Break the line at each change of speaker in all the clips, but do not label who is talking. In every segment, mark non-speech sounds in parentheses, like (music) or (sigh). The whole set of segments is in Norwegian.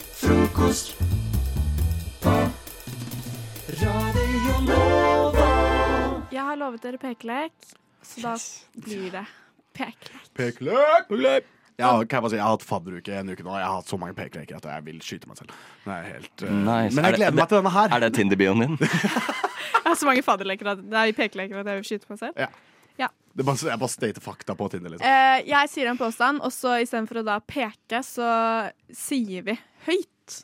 Frokost på Radio Nova.
Jeg har lovet dere pekelek, så da blir det pekelek.
Pekelek! Pekelek! Jeg har, kan jeg, bare si, jeg har hatt fadderuke en uke nå. Jeg har hatt så mange pekeleker at jeg vil skyte meg selv. Det er helt, eh,
Nice.
Men
Er
jeg
det-
gleder meg til denne her.
Er det Tinder-bioen din?
(laughs) Jeg har så mange fadderleker at, nei, pekeleker at jeg vil skyte meg selv.
Det er bare, jeg bare stater fakta på Tinder. Liksom.
Eh, jeg sier en påstand, og så istedenfor å da peke, så sier vi høyt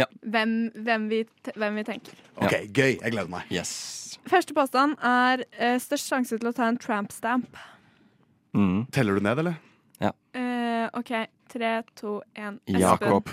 Ja.
hvem, hvem, vi, t- hvem vi tenker.
Ok, Gøy. Jeg gleder meg.
Yes.
Første påstand er eh, størst sjanse til å ta en tramp stamp.
Mm.
Teller du ned, eller?
Eh, OK, tre, to, én. Espen.
Jakob.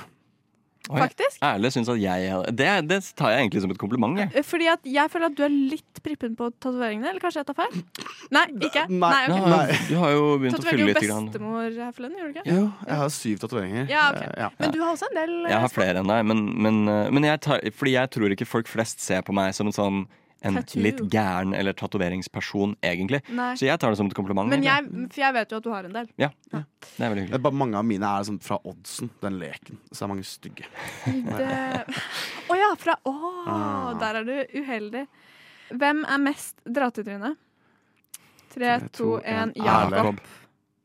Oi,
Faktisk.
Erle syns at jeg det, det tar jeg egentlig som et kompliment. Jeg.
Eh, Fordi at jeg føler at du er litt prippen på tatoveringene, eller kanskje jeg tar feil? Nei, ikke?
Nei.
ok.
Ja, Du har jo begynt å
Tatoverte
fylle
jo
litt. Grann.
bestemor her forleden, gjorde du ikke?
Jo, jeg har syv tatoveringer.
Ja, ok.
Eh, ja.
Men du har også en del eh,
Jeg har flere enn deg, men, men, eh, men jeg tar, fordi jeg tror ikke folk flest ser på meg som en sånn en
Tattoo.
litt gæren eller tatoveringsperson, egentlig.
eh, Nei.
Så jeg tar det som et kompliment.
Men
egentlig.
jeg, for jeg vet jo at du har en del.
Det er veldig
Det
hyggelig.
er bare mange av mine er sånn fra oddsen, den leken. Så er mange stygge.
Det... Å ja, fra Å,
Ah.
der er du uheldig. Hvem er mest dratt i trynet? Tre, to, én, Jakob.
Erle.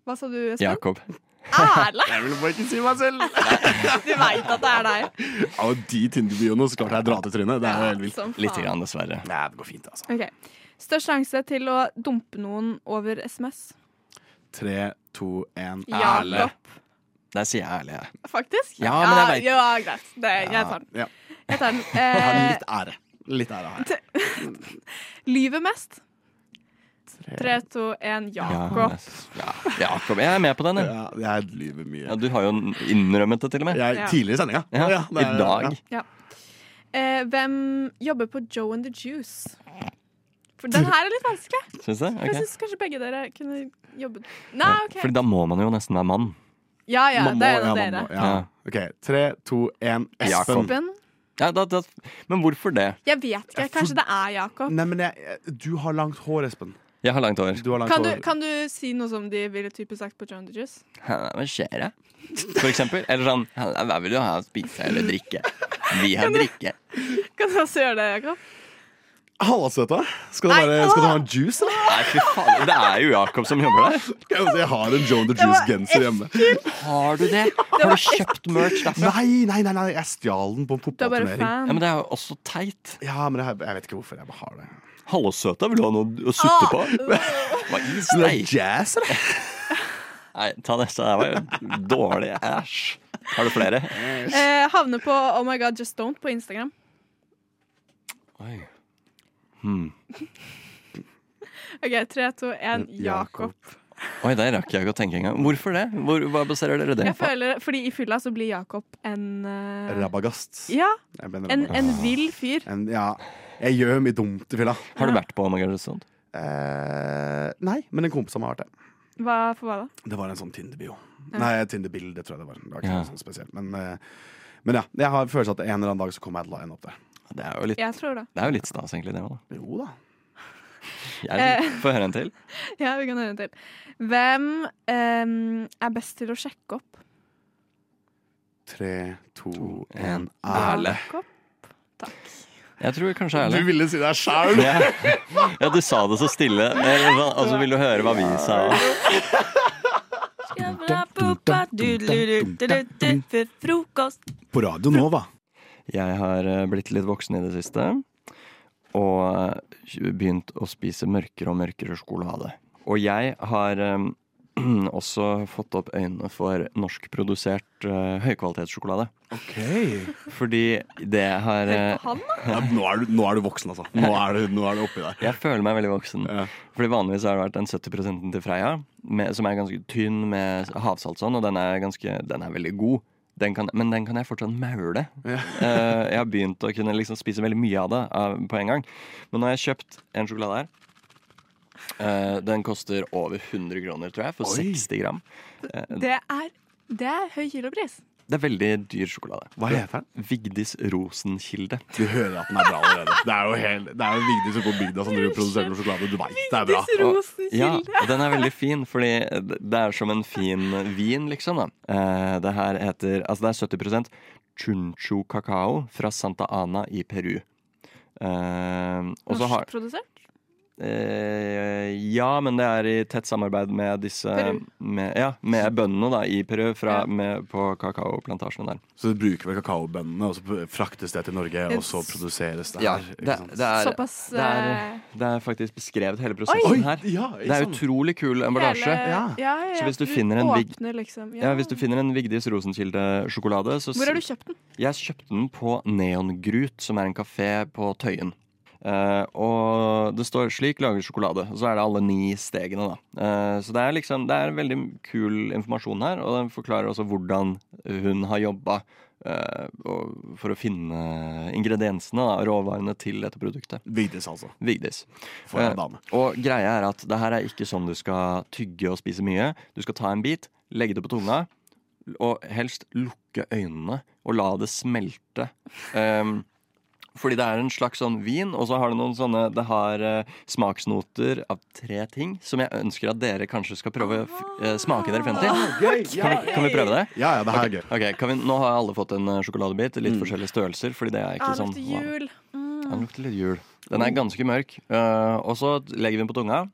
Hva sa du, Espen?
Jakob.
Erle!
Jeg ville bare ikke si meg selv!
Du veit at det er deg.
Av de Tinder-bioene så klarte jeg å dra til trynet. Det er jo helt vilt.
Som faen.
Lite grann, dessverre.
Nei, det går fint, altså.
Ok. Størst sjanse til å dumpe noen over SMS?
Tre, to, én.
Jakob,
Der sier jeg ærlig, jeg.
faktisk?
Ja, men jeg vet-
ja, greit. Det, jeg tar den.
Ja.
Jeg
(laughs)
tar den.
Jeg har
Eh,
litt ære. Litt ære har jeg.
lyver mest? Tre, to, én, Jakob.
Ja, ja, Jakob. Jeg er med på den. jeg.
Ja, jeg lyver mye.
Ja, du har jo innrømmet det, til og med.
Jeg,
Ja.
Tidligere i sendinga.
Ja,
Ja, det
I
er-
dag.
ja.
Eh, hvem jobber på Joe and the Juice? For den her er litt vanskelig.
(laughs) Syns du?
For Jeg
Ok.
syns kanskje begge dere kunne jobbet Nei, OK.
Fordi da må man jo nesten være mann.
Ja ja,
Man må-
det er en
ja,
av
man
dere.
må, Ja.
Ja.
OK. Tre, to, én. Espen.
Espen?
Ja, da, da, men hvorfor det?
Jeg vet ikke. Kanskje det er
Mm,
Jakob.
Nei, men jeg, du har langt hår, Espen.
Jeg har langt hår.
Du har langt
Kan du,
hår.
kan du si noe som de ville typisk sagt på Joe and the Juice? (laughs)
Hæ, Hva skjer jeg? For eksempel. Eller sånn «Hæ, Hva vil du ha å spise eller drikke? Vi har drikke.
Kan du også gjøre det, Jakob?
Halla, søta. Skal du, bare, skal du ha en juice, eller?
Nei, fy faen. Det er jo Jakob som jobber der.
Jeg jeg har en Joan the Juice-genser hjemme.
Har du
(laughs)
det? Har du kjøpt merch derfra?
Nei, nei, nei, nei, jeg stjal den på en
Du er bare
fotballturnering.
Ja,
fan.
men det er jo også teit.
Ja, men jeg, jeg vet ikke hvorfor jeg bare har det.
Hallo, søta. Vil du ha noe å
Ah.
sutte på? Hva i steik?
jazz, eller?
Nei, ta neste. Det var jo dårlig. Æsj. Har du flere?
(laughs) Eh, havne på Oh my God Just Don't på Instagram.
Oi.
OK, tre, to, én, Jakob.
Oi, der rakk jeg ikke å tenke engang. Hvorfor det? Hvor, hva baserer dere det
Jeg
på?
føler, fordi i fylla så blir Jakob en eh,
Rabagast.
Ja,
Jeg mener
en,
rabagast.
en vill fyr.
En, ja. Jeg gjør mye dumt i fylla.
Har du vært på Omega Resort?
Eh, nei, men en kompis av meg har vært det.
Hva for hva da?
Det var en sånn Tinder-bio. Nei, Tinder-bilde, tror jeg det var. Det var ikke
Ja.
noe sånn spesielt. Men, eh, men ja, jeg har følelsen at en eller annen dag så kommer jeg til å line opp der.
Det er jo litt,
Jeg tror det. (laughs)
det er jo litt stas, egentlig, det òg.
Jo da.
Jeg får høre en til.
Ja, vi kan høre en til. Hvem em, er best til å sjekke opp?
Tre, to, en
en.
Erle.
Jakob? Takk.
Jeg tror kanskje Erle.
ville si deg sjæl!
Ja. ja, du sa det så stille. Eller hva- Altså, vil du høre hva vi sa?
Frokost.
På Radio Nova.
Jeg har eh, blitt litt voksen i det siste. Og eh, begynt å spise mørkere og mørkere sjokolade. Og jeg har eh, (clears throat) også fått opp øynene for norskprodusert eh, høykvalitetssjokolade.
Ok.
Fordi det har eh,
Han, da?
Ja, nå, er du, nå er du voksen, altså. Nå er du, nå er du oppi der.
Jeg føler meg veldig voksen.
Ja.
Fordi Vanligvis har det vært den 70 til Freia, med, som er ganske tynn med havsalt sånn, og den er, ganske, den er veldig god. Den kan, men den kan jeg fortsatt maule. (laughs) Eh, jeg har begynt å kunne liksom spise veldig mye av det av, på en gang. Men nå har jeg kjøpt en sjokolade her. Eh, den koster over 100 kroner, tror jeg, for
Oi.
60 gram.
Det er, det er høy kilopris.
Det er veldig dyr sjokolade.
Hva heter den?
Vigdis Rosenkilde.
Du hører at den er bra allerede. Det er jo, helt, det er jo Vigdis ute på bygda som driver og produserer noe sjokolade. Du veit det er bra.
Vigdis
Ja,
Rosenkilde.
og den er veldig fin, fordi det er som en fin vin, liksom. da. Eh, Det her heter Altså, det er 70 chuncho kakao fra Santa Ana i Peru. Eh, og så har
Norskprodusert?
eh, Ja, men det er i tett samarbeid med disse
Peru.
Med, ja, med bøndene da, i Peru fra,
Ja.
med, på kakaoplantasjene der.
Så du bruker vel kakaobøndene, og så fraktes det til Norge, og så
It's-
produseres det
Ja,
her.
det, det, er,
Såpass
det, er,
eh,
det er faktisk beskrevet hele
Oi! sånn.
prosessen her.
Ja, ikke
Det er
sant?
utrolig kul emballasje.
hele-
Ja.
Ja, ja,
Så
ja,
hvis du
for
finner en big-
åpner liksom.
Ja, Hvis du finner en Vigdis Rosenkilde-sjokolade, så
Hvor har
si-
du kjøpt den?
Jeg kjøpte den på Neongrut, som er en kafé på Tøyen. Eh, og det står 'slik lager sjokolade', og så er det alle ni stegene. da Eh, Så det er liksom, det er veldig kul informasjon her, og den forklarer også hvordan hun har jobba for å finne ingrediensene, da, råvarene til dette produktet.
Vigdis, altså.
Vigdis.
For en
Eh,
dame.
Og greia er at det her er ikke sånn du skal tygge og spise mye. Du skal ta en bit, legge det på tunga, og helst lukke øynene og la det smelte. Ehm, fordi det er en slags sånn vin, og så har det noen sånne Det har eh, smaksnoter av tre ting som jeg ønsker at dere kanskje skal prøve å f- eh, smake dere frem til. Kan vi, kan vi prøve det?
Ja, ja, det her er gøy.
Ok, kan vi, Nå har alle fått en eh, sjokoladebit i litt forskjellige størrelser. Fordi det er
Ja,
ikke
den
sånn
lukter jul.
ja, Den lukter litt jul. Den er ganske mørk. Eh, og så legger vi den på tunga.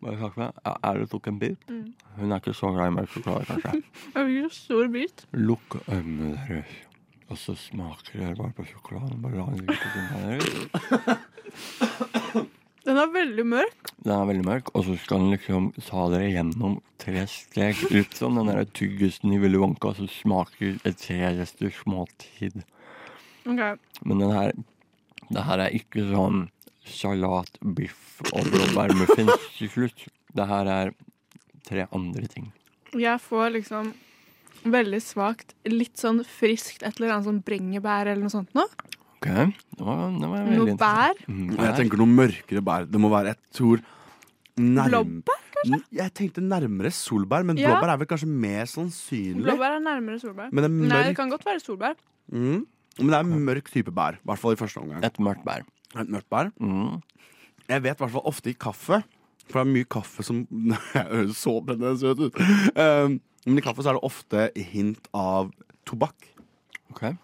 Bare snakke med. Ja, er det tok en bit? Hun er ikke så glad i mørk sjokolade, kanskje.
Jeg fikk en stor bit.
Lukk øynene deres, og så smaker dere bare på sjokoladen. Bare la den ligge på tunga deres.
Den er veldig mørk.
Den er veldig mørk, og så skal den liksom ta dere gjennom tre steg. Litt som den der tyggisen i Willy Wonka som smaker et trerester småtid.
Ok.
Men den her Det her er ikke sånn salat, biff og blåbærmuffins til slutt. Det her er tre andre ting.
Jeg får liksom veldig svakt, litt sånn friskt et eller annet sånn bringebær eller noe sånt nå.
Ok, det var, det var veldig
Noe bær.
Mm,
Men jeg
bær.
tenker noe mørkere bær. Det må være, jeg tror nærm-
Blåbær,
N- Jeg tenkte nærmere solbær, men
Ja.
blåbær er vel kanskje mer sannsynlig.
Blåbær er nærmere solbær.
Men det er
Nei, det
mørk,
kan godt være solbær.
mm, men det er en mørk type bær. I hvert fall i første omgang.
Et mørkt bær.
Et mørkt bær.
Mm.
Jeg vet i hvert fall ofte i kaffe, for det er mye kaffe som (laughs) Jeg høres så brennende søt ut. Um, men i kaffe så er det ofte hint av tobakk.
Ok.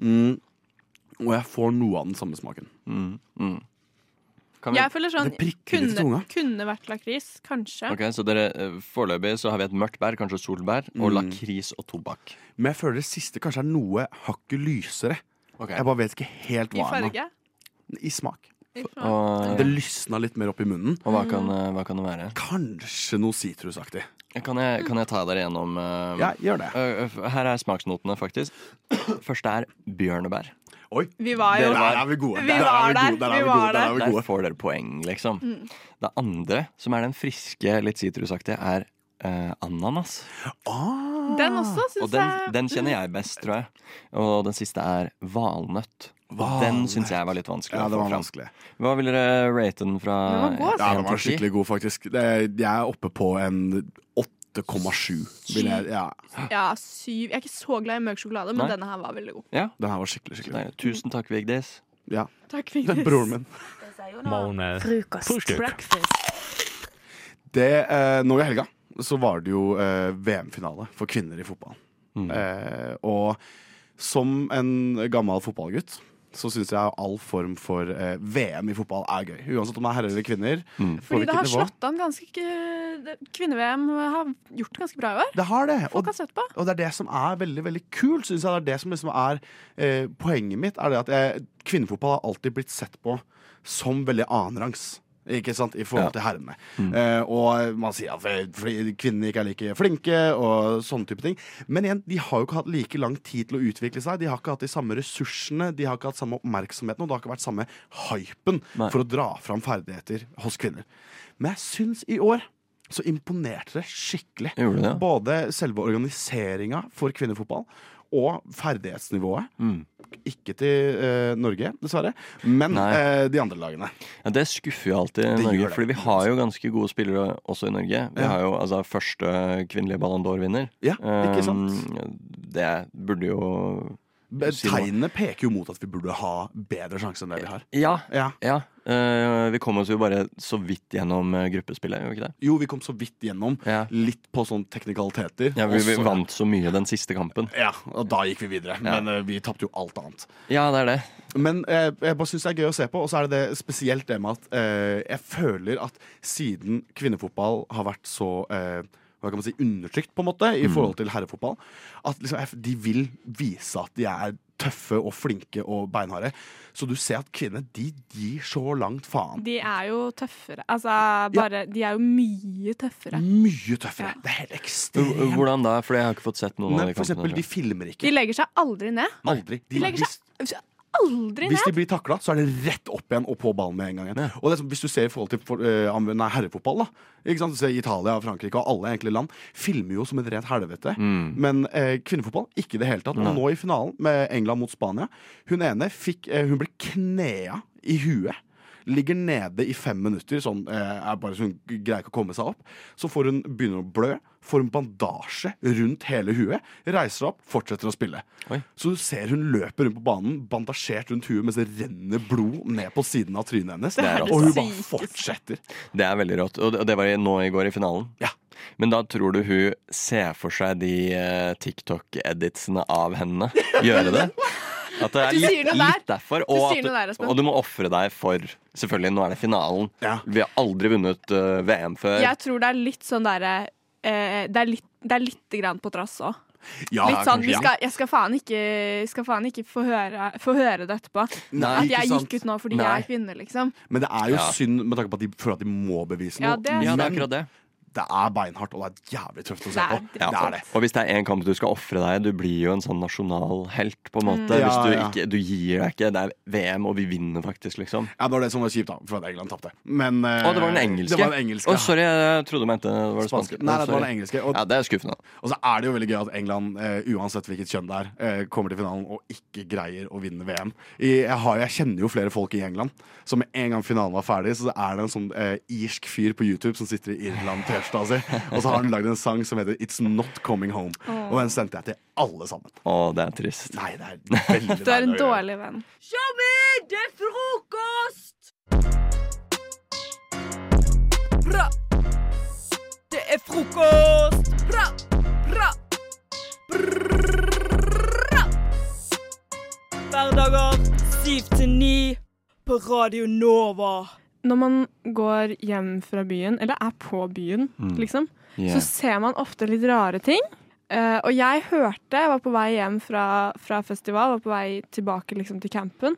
Mm, og jeg får noe av den samme smaken.
Mm. Mm. Kan vi,
Jeg føler sånn
Det prikker litt i
kunne,
tunga.
kunne vært lakris, kanskje.
ok, så dere, eh, Foreløpig så har vi et mørkt bær, kanskje solbær, og
Mm.
lakris og tobakk.
Men jeg føler det siste kanskje er noe hakket lysere.
Ok.
Jeg bare vet ikke helt
I
hva den er.
farge.
I smak.
I smak.
Og,
Det lysna litt mer opp i munnen.
og hva, kan, eh, hva kan det være?
Kanskje noe sitrusaktig.
Kan jeg, kan jeg ta dere gjennom eh,
Ja, gjør det.
eh, f- Her er smaksnotene, faktisk. Første er bjørnebær.
Oi,
Vi var jo
der er vi gode.
Vi
Der er
var
gode.
der.
er
Vi
gode.
var
Der er
der.
vi
Der
gode.
får dere poeng, liksom.
Mm.
Det andre, som er den friske, litt sitrusaktige, er eh, ananas.
Ah,
Den også,
Og
syns
den,
jeg.
den kjenner jeg best, tror jeg. Og den siste er valnøtt. Og den
Valnøtt.
syns jeg var litt vanskelig
ja,
å
det
få
var
fram.
vanskelig.
Hva vil dere rate den fra
Den var god,
Ja, den
en
var
til ti?
skikkelig god, faktisk. Det, jeg er oppe på en 8,7. vil jeg- Ja,
Ja, syv. Jeg er ikke så glad i mørk sjokolade, men
Nei.
denne her var veldig god.
den her var skikkelig, skikkelig
Nei, Tusen takk, Vigdis.
ja.
Takk,
Det er
Vigdis.
broren min.
Morgen.
Frokost.
Frühstück.
Breakfast.
Det, eh, nå i helga så var det jo eh, VM-finale for kvinner i fotball.
Mm.
Eh, og som en gammel fotballgutt så syns jeg all form for eh, VM i fotball er gøy. Uansett om det er herrer eller kvinner.
Mm.
på
Fordi det
hvilket
har
nivå.
slått an ganske ikke- det- Kvinne-VM har gjort det ganske bra i år.
Det har det.
Folk
Og,
har sett på.
og det er det som er veldig veldig kult, syns jeg. Det er det som liksom er eh, poenget mitt. Er det at eh, Kvinnefotball har alltid blitt sett på som veldig annenrangs. Ikke sant, I forhold
Ja. Mm.
til herrene. Eh, og man sier at eh, fordi kvinnene ikke er like flinke, og sånne type ting. Men igjen, de har jo ikke hatt like lang tid til å utvikle seg. De har ikke hatt de samme ressursene, de har ikke hatt samme oppmerksomheten, og det har ikke vært samme hypen
Nei.
for å dra fram ferdigheter hos kvinner. Men jeg syns i år så imponerte det skikkelig.
Gjorde det, ja.
Både selve organiseringa for kvinnefotball og ferdighetsnivået.
Mm.
Ikke til eh, Norge, dessverre, men
Nei.
eh, de andre lagene.
Ja, Det skuffer jo alltid
Det gjør
Norge,
det.
fordi vi har jo ganske gode spillere også i Norge. Vi
Ja.
har jo altså første kvinnelige Ballon d'Or-vinner.
Ja, ikke sant?
Um, det burde jo
Be-
si noe.
Tegnene peker jo mot at vi burde ha bedre sjanse enn det vi har.
Ja.
Ja.
ja. Uh, vi kom oss jo bare så vidt gjennom uh, gruppespillet, gjorde vi ikke det?
Jo, vi kom så vidt gjennom.
Ja.
Litt på sånn teknikaliteter.
Ja, vi, vi
og så-
vant så mye den siste kampen.
Ja, og da gikk vi videre. Men eh, vi tapte jo alt annet.
Ja, det er det.
Men eh, jeg bare syns det er gøy å se på, og så er det, det spesielt det med at eh, jeg føler at siden kvinnefotball har vært så eh, hva kan man si, undertrykt, på en måte, i forhold til herrefotball, at liksom, jeg- de vil vise at de er tøffe og flinke og beinharde. Så du ser at kvinner, de gir så langt faen.
De er jo tøffere. Altså, bare De er jo mye tøffere.
Mm. Mye tøffere.
Ja.
Det er helt
H-
ekstremt.
Hvordan da? Fordi jeg har ikke fått sett noen av
Nei,
de
for
kampene.
eksempel,
tror
de
jeg.
filmer ikke.
De legger seg aldri ned.
Aldri.
De legger
hvis,
seg aldri
hvis
ned.
de blir takla, så er det rett opp igjen og på ballen med en gang. igjen. Og det er som, Hvis du ser i forhold til for, eh, am- nei, herrefotball, da. Ikke sant? Du ser Italia og Frankrike og alle egentlig land filmer jo som et rent helvete. Men eh, kvinnefotball, ikke i det hele tatt. Og nå i finalen med England mot Spania, hun ene fikk, eh, hun ble knea i huet. Ligger nede i fem minutter, sånn, eh, er bare sånn, greier ikke å komme seg opp. Så får hun, begynner hun å blø, får en bandasje rundt hele huet, reiser opp, fortsetter å spille.
Oi.
Så du ser hun løper rundt på banen, bandasjert rundt huet, mens det renner blod ned på siden av trynet hennes.
er rått.
og hun bare
Sykeste.
fortsetter.
Det er veldig rått. Og det- og det var i- nå i går i finalen.
Ja.
Men da tror du hun ser for seg de eh, TikTok-editsene av henne gjøre det? At det er
Du sier
litt,
noe
litt
der.
derfor.
Du
Og,
sier noe der,
at,
Espen.
og du må ofre deg for Selvfølgelig, nå er det finalen.
Ja.
Vi har aldri vunnet eh, VM før.
Jeg tror det er litt sånn derre eh, Det er litt det er lite grann på trass òg.
Ja,
Litt sånn,
kanskje-
vi skal, jeg skal faen ikke, skal faen ikke få, høre, få høre det etterpå.
Nei,
At jeg
ikke sant.
gikk ut nå fordi
Nei.
jeg er kvinne, liksom.
Men det er jo
Ja.
synd med tanke på at de føler at de må bevise noe.
Ja, det er
Ja, det er
men
akkurat det.
det er beinhardt, og det er jævlig tøft å se
Det er
på.
det.
Det er det.
Og hvis det er en kamp du skal ofre deg, du blir jo en sånn nasjonal helt, på en måte.
Mm. Ja,
Hvis du
ja.
ikke Du gir deg ikke. Det er VM, og vi vinner faktisk, liksom.
Ja, det var det som var kjipt, da, for at England tapte. Men eh,
Å, det var den engelske.
Det var den engelske.
Å, sorry, jeg trodde du mente det var det
Spanske.
spanske.
Nei, det var
Sorry.
den engelske. Og,
Ja, det er skuffende.
og så er det jo veldig gøy at England, eh, uansett hvilket kjønn det er, eh, kommer til finalen og ikke greier å vinne VM. I, jeg, har, jeg kjenner jo flere folk i England som med en gang finalen var ferdig, så er det en sånn eh, irsk fyr på YouTube som sitter i Irland T-skjorta si, og så har han lagd en sang som heter It's Not Coming Home. Og den sendte jeg til alle sammen.
Å, det er trist.
Nei, det er veldig
Du er en
deilig å gjøre.
dårlig venn.
Hverdager 7 til 9 på Radio Nova.
Når man går hjem fra byen, eller er på byen,
Mm.
liksom,
Yeah.
så ser man ofte litt rare ting. Eh, og jeg hørte, jeg var på vei hjem fra, fra festival, var på vei tilbake liksom, til campen.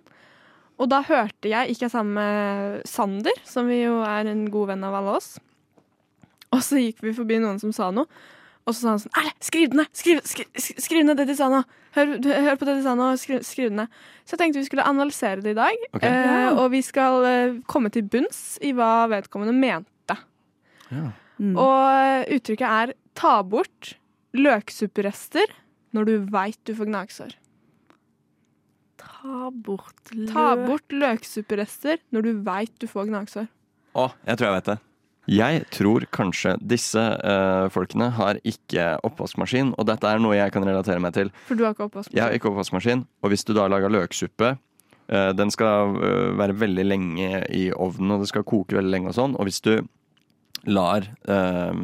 Og da hørte jeg, gikk jeg sammen med Sander, som vi jo er en god venn av alle oss. Og så gikk vi forbi noen som sa noe, og så sa han sånn Erle, skriv det ned! Skriv, skriv, skriv- skriv ned det de sa nå! Hør, du- hør på det de sa nå, og skriv, skriv det ned. Så jeg tenkte vi skulle analysere det i dag,
Ok.
eh, og vi skal eh, komme til bunns i hva vedkommende mente.
Ja.
Og uttrykket er ta bort løksupperester når du veit du får gnagsår.
Ta bort løk.
Ta bort løksupperester når du veit du får gnagsår.
Å, jeg tror jeg vet det. Jeg tror kanskje disse eh, folkene har ikke oppvaskmaskin, og dette er noe jeg kan relatere meg til.
For du har ikke oppvask.
Jeg har ikke oppvaskmaskin, og hvis du da lager løksuppe eh, Den skal eh, være veldig lenge i ovnen, og det skal koke veldig lenge og sånn. Og hvis du lar eh,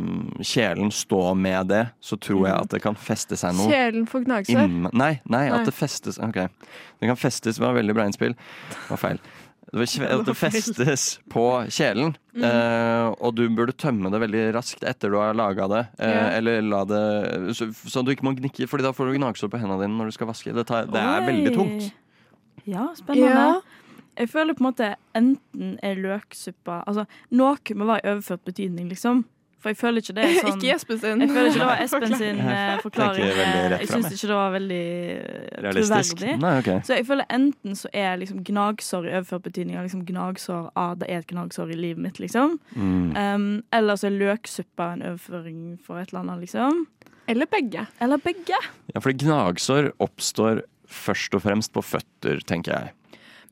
kjelen stå med det, så tror jeg at det kan feste seg noe.
Kjelen får gnagsår.
Innen, nei, nei,
Nei.
at det festes Ok, den kan festes Det var veldig bra innspill Det var feil det
(laughs)
var kje- at det festes på kjelen
Mm.
eh, Og du burde tømme det veldig raskt Etter du har laget det eh,
Ja.
Eller la det så, så du ikke må gnikke Fordi da får du gnagsår på hendene dine når du skal vaske Det, tar, det er veldig tungt
Ja, spennende.
Ja.
Jeg føler på en måte enten er løksuppa Altså, noe må være i overført betydning, liksom. For jeg føler ikke det er sånn
(laughs) Ikke Jesper sin.
Jeg føler ikke det
(laughs)
var Espen sin eh, forklaring.
Tenker veldig rett
Jeg
frem,
syns ikke det var veldig eh,
Realistisk.
troverdig.
Nei, ok.
Så jeg føler enten så er liksom gnagsår i overført betydning av liksom gnagsår av det er et gnagsår i livet mitt, liksom.
Mm.
Um, eller så er løksuppa en overføring for et eller annet, liksom.
Eller begge.
Eller begge.
Ja, fordi gnagsår oppstår først og fremst på føtter, tenker jeg.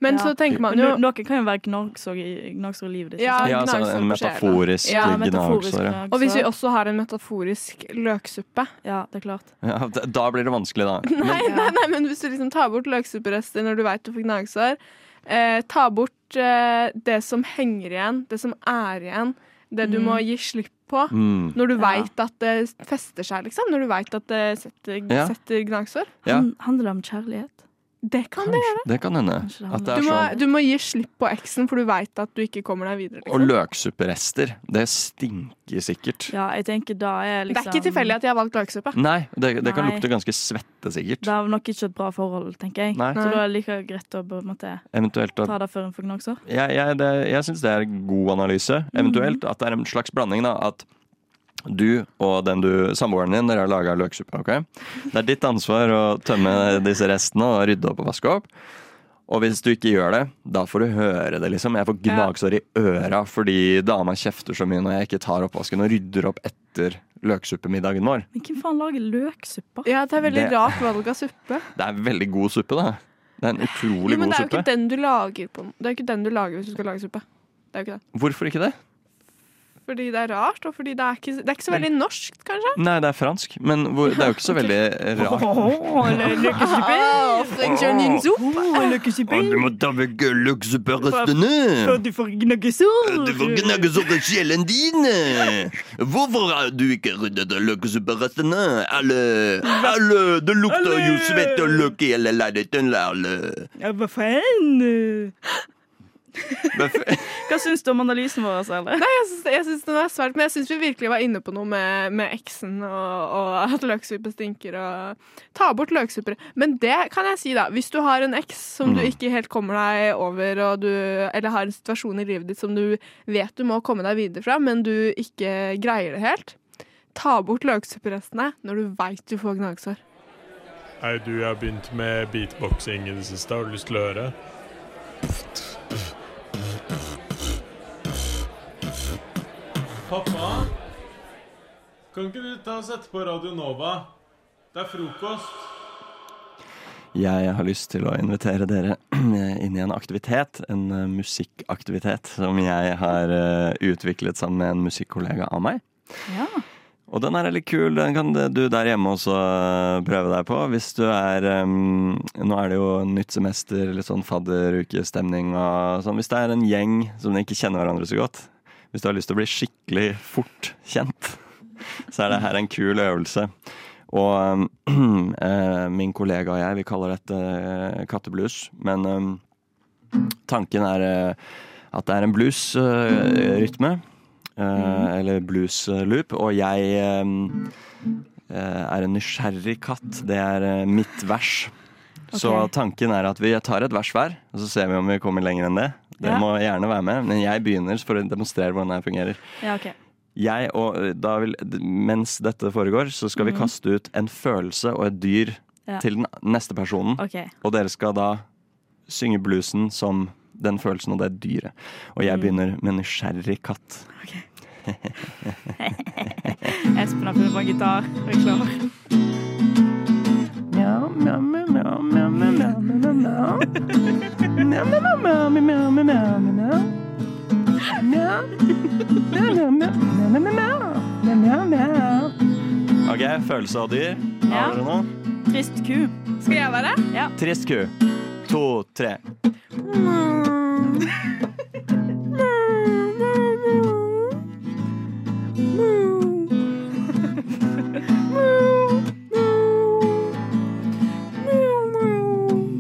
Men
Ja.
så tenker man
Men
jo
no noen kan jo være gnagsår i, gnagsår i livet ditt.
Ja,
liksom.
Ja,
gnagsår
sånn en
på sjela.
metaforisk
Ja, metaforisk
gnagsår. Ja.
gnagsår.
Og hvis vi også har en metaforisk løksuppe
Ja, det er klart.
Ja, d- da blir det vanskelig, da.
(laughs) Nei, nei, nei, men hvis du liksom tar bort løksupperester når du veit du får gnagsår, eh, ta bort eh, det som henger igjen, det som er igjen, det
Mm.
du må gi slipp på.
Mm.
Når du
Ja.
veit at det fester seg, liksom. Når du veit at det setter,
Ja.
setter gnagsår.
Ja.
Han, handler det om kjærlighet?
Det kan det gjøre.
Kanskje, det kan hende.
Kanskje det
At det
Du
er
må,
sånn.
du må gi slipp på eksen, for du veit at du ikke kommer deg videre. Liksom.
Og løksupperester. Det stinker sikkert.
Ja, jeg tenker da er
Det
liksom
er ikke tilfeldig at jeg har valgt løksuppe.
Nei, det, det kan
Nei.
lukte ganske svette, sikkert.
Det er nok ikke et bra forhold, tenker jeg.
Nei.
Så da er det like greit å på en måte,
Eventuelt at
ta det før en får gnagsår.
Jeg, jeg, det, jeg syns det er god analyse.
Mhm.
Eventuelt at det er en slags blanding. da, At du og den du, samboeren din dere har laga løksuppe. ok? Det er ditt ansvar å tømme disse restene og rydde opp og vaske opp. Og hvis du ikke gjør det, da får du høre det. liksom. Jeg får gnagsår i øra fordi dama kjefter så mye når jeg ikke tar oppvasken og rydder opp etter løksuppemiddagen vår.
Men hvem faen lager løksuppa?
Ja, det er veldig
Det-
rart valg av suppe.
Det er veldig god suppe, da. Det er en (laughs) utrolig
Jo, men det er
god
jo
suppe.
ikke den du lager på Det er jo ikke den du lager hvis du skal lage suppe. Det er jo ikke det.
Hvorfor ikke det?
Fordi det er rart, og fordi det er ikke, det er ikke så veldig norskt, kanskje.
Nei, det er fransk, men hvor, det er jo ikke
(laughs)
så veldig rart. du må ta vekk løksuperestene!
du får gnagsår!
Du får gnagesår i sjelen din! Hvorfor har du ikke ryddet løksuperestene? Alle, alle, det lukter jo svett og løk i hele leiligheten, alle.
Ja, hva faen?
Men f-
Hva syns du om analysen vår, Særlig?
Jeg syns, jeg syns den er svært, men jeg syns vi virkelig var inne på noe med, med eksen og, og at løksuppe stinker og Ta bort løksupper. Men det kan jeg si, da. Hvis du har en eks som du ikke helt kommer deg over, og du, eller har en situasjon i livet ditt som du vet du må komme deg videre fra, men du ikke greier det helt, ta bort løksupperestene når du veit du får gnagsår.
Hei, du, jeg har begynt med beatboxing i det siste. Har du lyst til å høre? Pappa? Kan ikke du ta og sette på Radio Nova? Det er frokost.
(laughs) Jeg har lyst til å invitere dere (clears throat) inn i en aktivitet, en eh, musikkaktivitet, som jeg har eh, utviklet sammen med en musikkollega av meg.
Ja.
Og den er veldig kul, den kan du der hjemme også eh, prøve deg på. Hvis du er em, Nå er det jo nytt semester, litt sånn fadderukestemning og sånn. Hvis det er en gjeng som ikke kjenner hverandre så godt, hvis du har lyst til å bli skikkelig fort kjent, så er det her en kul øvelse. Og um, (clears throat) eh, min kollega og jeg, vi kaller dette eh, katteblues. Men um, tanken er eh, at det er en blues-rytme. eh, Eller blues-loop. Og jeg um, eh, er en nysgjerrig katt. Det er eh, mitt vers. Så
Ok.
tanken er at vi tar et vers hver, og så ser vi om vi kommer lenger enn det. Dere
Ja.
må gjerne være med, men jeg begynner for å demonstrere hvordan det her fungerer
ja, OK.
jeg og eh, da vil, Mens dette foregår, så skal vi kaste ut en følelse og et dyr
Mhm. Ja.
til den neste personen.
ok
Og dere skal da synge bluesen som den følelsen og det dyret. Og
Mhm.
jeg begynner med nysgjerrig katt.
Espen har funnet på en gitar. Er du klar?
OK, følelse av dyr.
Ja.
Har dere noe?
Trist ku.
Skal jeg være?
Trist ku. To, tre.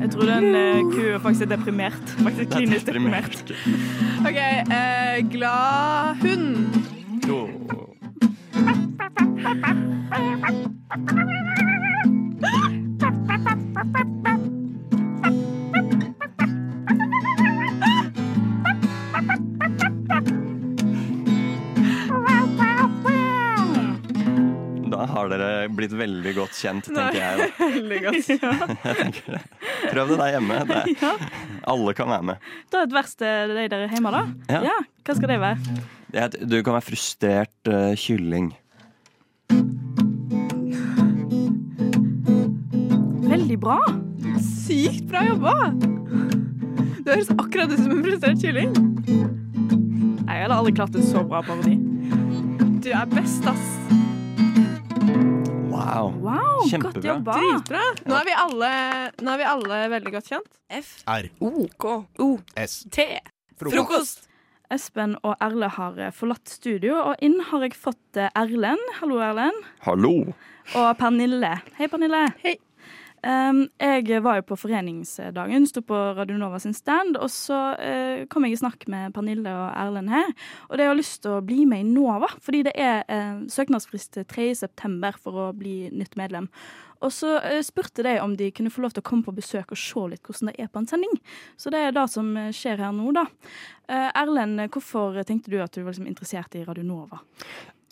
Jeg tror den eh, ku er faktisk er deprimert. Faktisk klinisk deprimert.
OK. Eh, glad hund.
To.
blitt veldig godt kjent,
Nei.
tenker jeg. da.
Veldig godt.
Prøv det der hjemme. Det er,
Ja.
alle kan være med.
Ta et vers til deg der hjemme, da.
Ja.
Ja, Hva skal det være?
Jeg- Du kan være frustrert eh, kylling.
Veldig bra.
Sykt bra jobba! Du høres akkurat ut som en frustrert kylling.
Nei, Jeg hadde aldri klart en så bra parodi.
Du er best, ass.
Wow.
Wow,
Kjempebra.
godt jobba.
Dritbra. Nå er vi alle, nå er vi alle veldig godt kjent.
F
R.
O K O
S.
T Frokost
Espen og Erle har eh, forlatt studio, og inn har jeg fått eh, Erlend. Hallo, Erlend.
Hallo.
Og Pernille. Hei, Pernille.
Hei.
Um, jeg var jo på foreningsdagen, sto på Radio Nova sin stand, og så eh, kom jeg i snakk med Pernille og Erlend her. Og de har lyst til å bli med i Nova, fordi det er eh, søknadsfrist til 3. september for å bli nytt medlem. Og så eh, spurte de om de kunne få lov til å komme på besøk og se litt hvordan det er på en sending. Så det er det som eh, skjer her nå, da. Eh, Erlend, hvorfor tenkte du at du var liksom interessert i Radio Nova?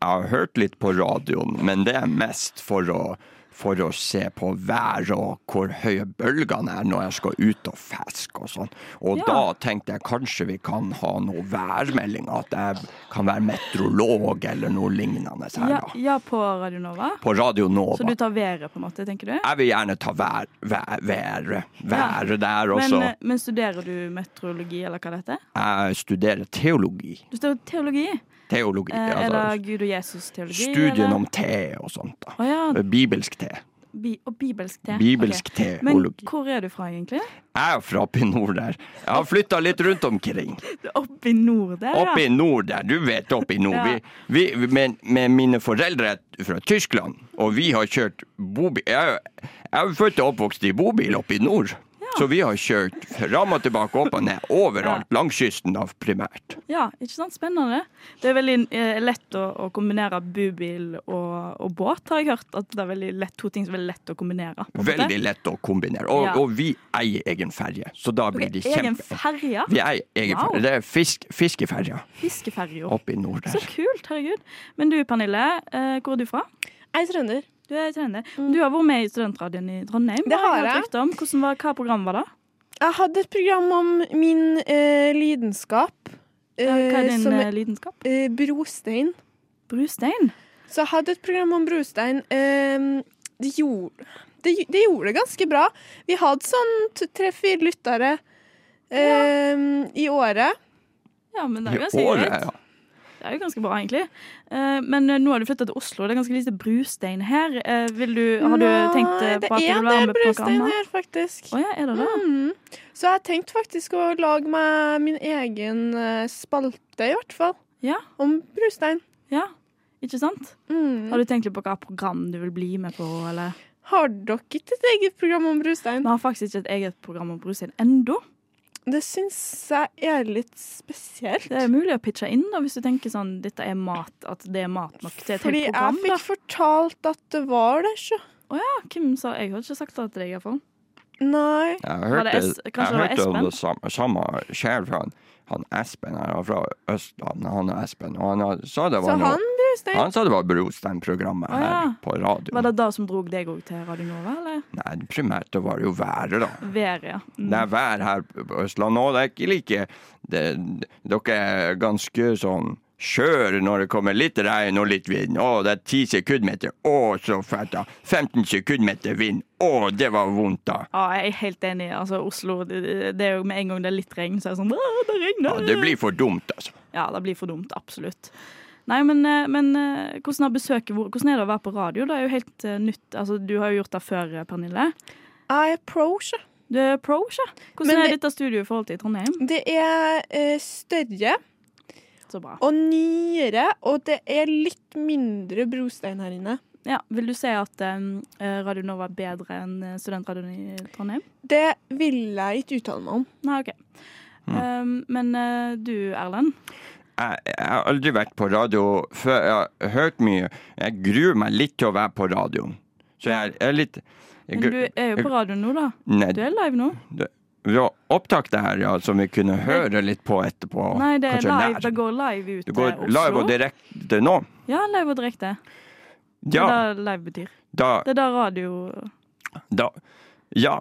Jeg har hørt litt på radioen, men det er mest for å, for å se på været og hvor høye bølgene er når jeg skal ut og fiske og sånn. Og
Ja.
da tenkte jeg kanskje vi kan ha noe værmelding, at jeg kan være meteorolog eller noe lignende her
Ja,
da.
ja på Radio Nova.
På Radio
Så
Nova.
du tar været, på en måte, tenker du?
Jeg vil gjerne ta vær, vær, været været der også.
Men, eh, men studerer du meteorologi, eller hva det heter?
Jeg studerer teologi.
Du studerer teologi.
Teologi,
Eh, er det
altså.
Gud og Jesus-teologi?
Studien
eller?
om te og sånt da.
Å ja,
Bibelsk te.
bi og bibelsk te.
Bibelsk
Ok. Men
teologi.
hvor er du fra, egentlig? (laughs)
Jeg er fra oppe i nord der. Jeg har flytta litt rundt omkring.
Du er Oppe i nord der,
Oppe
ja.
i nord der, du vet oppe i nord.
Ja.
Vi, vi, men, men mine foreldre er fra Tyskland, og vi har kjørt bobil Jeg, er jo- jeg er jo født og oppvokst i bobil oppe i nord. Så vi har kjørt fram og tilbake, opp og ned, overalt langs kysten av primært.
ja. Ikke sant? Spennende. Det er veldig eh, lett å, å kombinere bubil og, og båt, har jeg hørt. At det er veldig lett, to ting som er veldig lett å kombinere. på en måte.
Veldig lett å kombinere. Og,
Ja.
og vi eier egen ferje, så da blir det
Egen
kjempe...
ferje.
Vi eier egen
Wow.
ferje. Det er fisk, fiskeferja
Fiskeferja.
oppe i nord
Så
der.
kult, herregud. Men du Pernille, eh, hvor er du fra?
Jeg er trønder.
Du er trønder. Du har vært med i studentradioen i Trondheim.
Mm. Det har
hørt
jeg.
rykte Om. Hvordan var, hva program var det?
Jeg hadde et program om min eh, lidenskap.
Ja, Hva er
eh,
din
som
eh, lidenskap?
eh, brostein.
Brustein.
Så jeg hadde et program om brostein. Eh, det, gjorde, det, gj- det gjorde det ganske bra. Vi hadde sånn t- tre-fire lyttere eh, i året.
Ja, men det er jo
I
ganske
året,
greit.
ja.
Det er jo ganske bra, egentlig. Eh, men eh, nå har du flytta til Oslo, det er ganske lite brustein her. Eh, vil du, har du tenkt eh, på at du
Nei,
vil
det er
være
en del
med på
brostein
programmet?
her, faktisk.
Å ja, er det det?
Mm. Så jeg har tenkt faktisk å lage meg min egen eh, spalte, i hvert fall.
Ja.
Om brostein.
Ja. Ikke sant?
Mm.
Har du tenkt litt på hva program du vil bli med på, eller?
Har dere ikke et eget program om brostein?
Vi har faktisk ikke et eget program om brustein ennå.
Det syns jeg er litt spesielt.
Det er mulig å pitche inn da, hvis du tenker sånn dette er mat, at det er mat nok til et
Fordi
helt
jeg
program. da.
fikk fortalt at det var det, så.
Ja, Hvem sa Jeg har ikke sagt det til deg, iallfall.
Nei.
Jeg
Var det
hørte,
Es-
jeg
kanskje det var
hørte om
Espen?
det samme, samme skjer fra han, han Espen her, han fra Østlandet, han og Espen. Og han had- sa det
Så
var noe,
han brostein.
han sa det var Brostein-programmet
Å,
her
ja.
på radio.
Var det det som drog deg òg til Radio Nova, eller?
Nei, primært det var jo været, da.
Været, ja. Mm.
Det er vær her på Østlandet, og det er ikke like det, Dere er ganske sånn skjøre når det kommer litt regn og litt vind. Å, det er ti sekundmeter. Å, så fælt, da. 15 sekundmeter vind. Å, det var vondt, da.
Ja, jeg er helt enig. Altså, Oslo det, det er jo Med en gang det er litt regn, så er det sånn «Åh, Det
Ja,
regner!
det blir for dumt, altså.
Ja, det blir for dumt. Absolutt. Nei, men, eh, men eh, hvordan har besøket vært? Hvordan er det å være på radio? Det er jo helt eh, nytt. Altså, Du har jo gjort det før, eh, Pernille.
Jeg er pro, så.
Du er pro, ikke? Hvordan
Men
er
det-
dette studioet i forhold til Trondheim?
Det er eh, større
Så bra.
og nyere, og det er litt mindre brostein her inne.
Ja, Vil du si at eh, Radio Nova er bedre enn eh, studentradioen i Trondheim?
Det vil jeg ikke uttale meg om.
Nei, OK. Um, men eh, du, Erlend.
jeg, jeg har aldri vært på radio før. Jeg har hørt mye. Jeg gruer meg litt til å være på radioen. Så jeg er litt jeg,
Men du er jo på radioen nå, da.
Nei,
Du er live nå.
vi har opptak det her, ja, som vi kunne høre litt på etterpå.
Nei, det er
Kanskje
live.
nær.
Det går live ut
Det
til
går
Oslo.
live og direkte nå.
Ja, live og direkte. Det
Ja,
er det live betyr.
da,
Det er det radio
da Ja,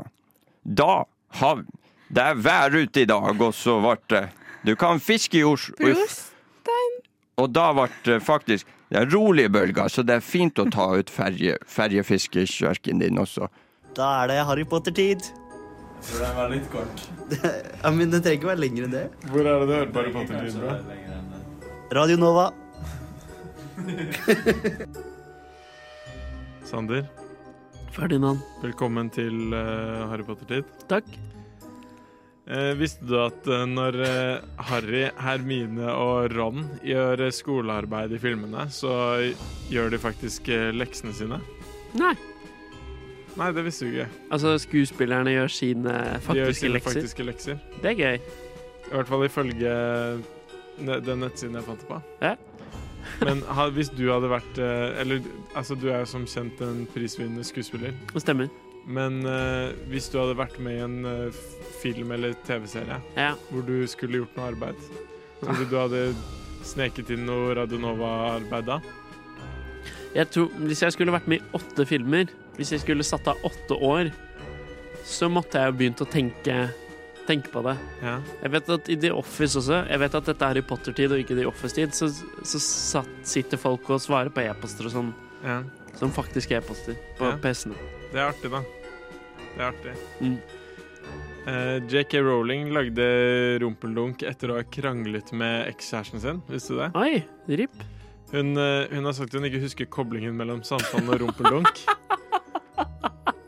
da har Det er vær ute i dag, og så ble det Du kan fiske i Oslo. Og da ble det faktisk Det er rolige bølger, så det er fint å ta ut ferje, ferjefiskekjørken din også.
Da er det Harry Potter-tid.
For den var litt kort.
Ja, men Det trenger ikke være lenger enn det.
Hvor er det du hørte Harry Potter-lyden fra?
Radio Nova.
Sander,
Ferdinand.
velkommen til eh, Harry Potter-tid.
Takk.
Eh, visste du at eh, når eh, Harry, Hermine og Ron gjør eh, skolearbeid i filmene, så gjør de faktisk eh, leksene sine?
Nei.
Nei, det visste du ikke.
Altså, skuespillerne gjør sine
De gjør
faktiske
sine
lekser.
faktiske lekser.
Det er gøy.
I hvert fall ifølge ne- den nettsiden jeg fant det på.
Ja.
Men ha- hvis du hadde vært eh, Eller altså, du er jo som kjent en prisvinnende skuespiller.
Det stemmer.
Men eh, hvis du hadde vært med i en eh, f- film eller TV-serie
Ja. Ah.
hvor du skulle gjort noe arbeid, tror du du hadde sneket inn noe Radionova-arbeid da?
Jeg tror, hvis jeg skulle vært med i åtte filmer, hvis jeg skulle satt av åtte år, så måtte jeg jo begynt å tenke, tenke på det.
Ja.
Jeg vet at i The Office også, jeg vet at dette er Harry Potter-tid og ikke The Office-tid, så, så satt, sitter folk og svarer på e-poster og sånn,
ja.
som faktisk e-poster på
Ja.
PC-ene.
Det er artig, da. Det er artig.
Mm.
Eh, JK Rowling lagde rumpeldunk etter å ha kranglet med ekskjæresten sin. Visste du det?
Oi, rip.
Hun, eh, hun har sagt hun ikke husker koblingen mellom samtalen og rumpeldunk.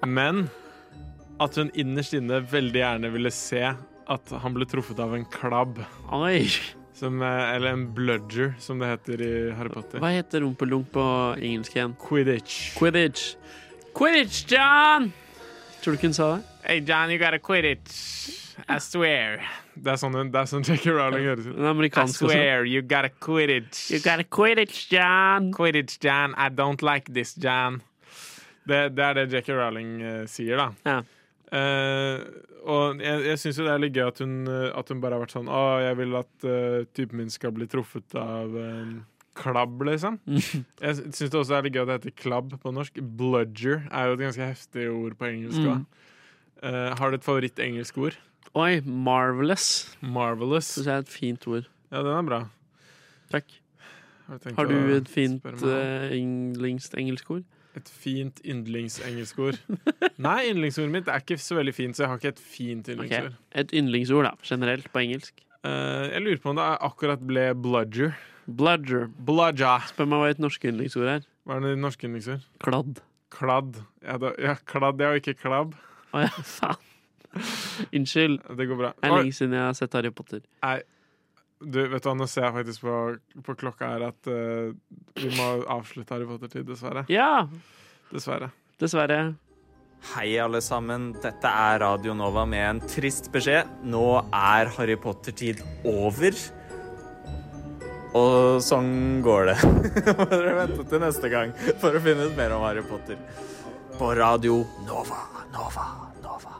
Men at hun innerst inne veldig gjerne ville se at han ble truffet av en klabb.
Oi.
Som, eh, eller en bludger, som det heter i Harry Potter.
Hva heter rumpelunk på engelsk igjen?
Quidditch.
Quidditch. Quidditch, John! Tror du ikke hun sa det?
Hey John, you got a quidditch. I swear. Det er sånn, hun- det er sånn JK Rowling høres ut.
Den amerikanske også.
you got a quidditch.
You gotta quidditch, John!
Quidditch, Jan. I don't like this, Jan. Det, det er det Jackie Rowling eh, sier, da.
Ja.
Eh, og jeg, jeg syns jo det er litt gøy at hun, eh, at hun bare har vært sånn Å, jeg vil at eh, typen min skal bli truffet av en klabb,
(laughs)
liksom.
Mm.
jeg syns det også er litt gøy at det heter klabb på norsk. Bludger er jo et ganske heftig ord på engelsk. da.
Mm.
Eh, har du et favoritt-engelsk ord?
Oi, marvelous.
Marvelous.
Syns jeg er et fint ord.
Ja, den er bra.
Takk.
Jeg tenker
Har du
å
et fint
spørre meg om.
eh, yndlingsengelsk ord?
Et fint yndlingsengelskord. Nei, yndlingsordet mitt er ikke så veldig fint, så jeg har ikke et fint
Ok.
yndlingsord.
(laughs) Et yndlingsord, da, generelt på engelsk.
Eh, jeg lurer på om det er- akkurat ble bludger.
Bludger.
Bludger.
Spør meg hva et norsk yndlingsord er.
Hva er det norske yndlingsord?
Kladd.
Kladd. Ja, da, ja, kladd, ja, og ikke klabb.
Å ja, faen. Unnskyld.
Det går bra.
Det er
Oi,
lenge siden jeg har sett Harry Potter.
du, vet du hva, nå ser jeg faktisk på, på klokka her at eh, vi må avslutte Harry Potter-tid, dessverre.
Ja!
Dessverre.
Dessverre.
Hei, alle sammen. Dette er Radio Nova med en trist beskjed. Nå er Harry Potter-tid over. Og sånn går det. (laughs) Må dere vente til neste gang for å finne ut mer om Harry Potter. På Radio Nova, Nova, Nova.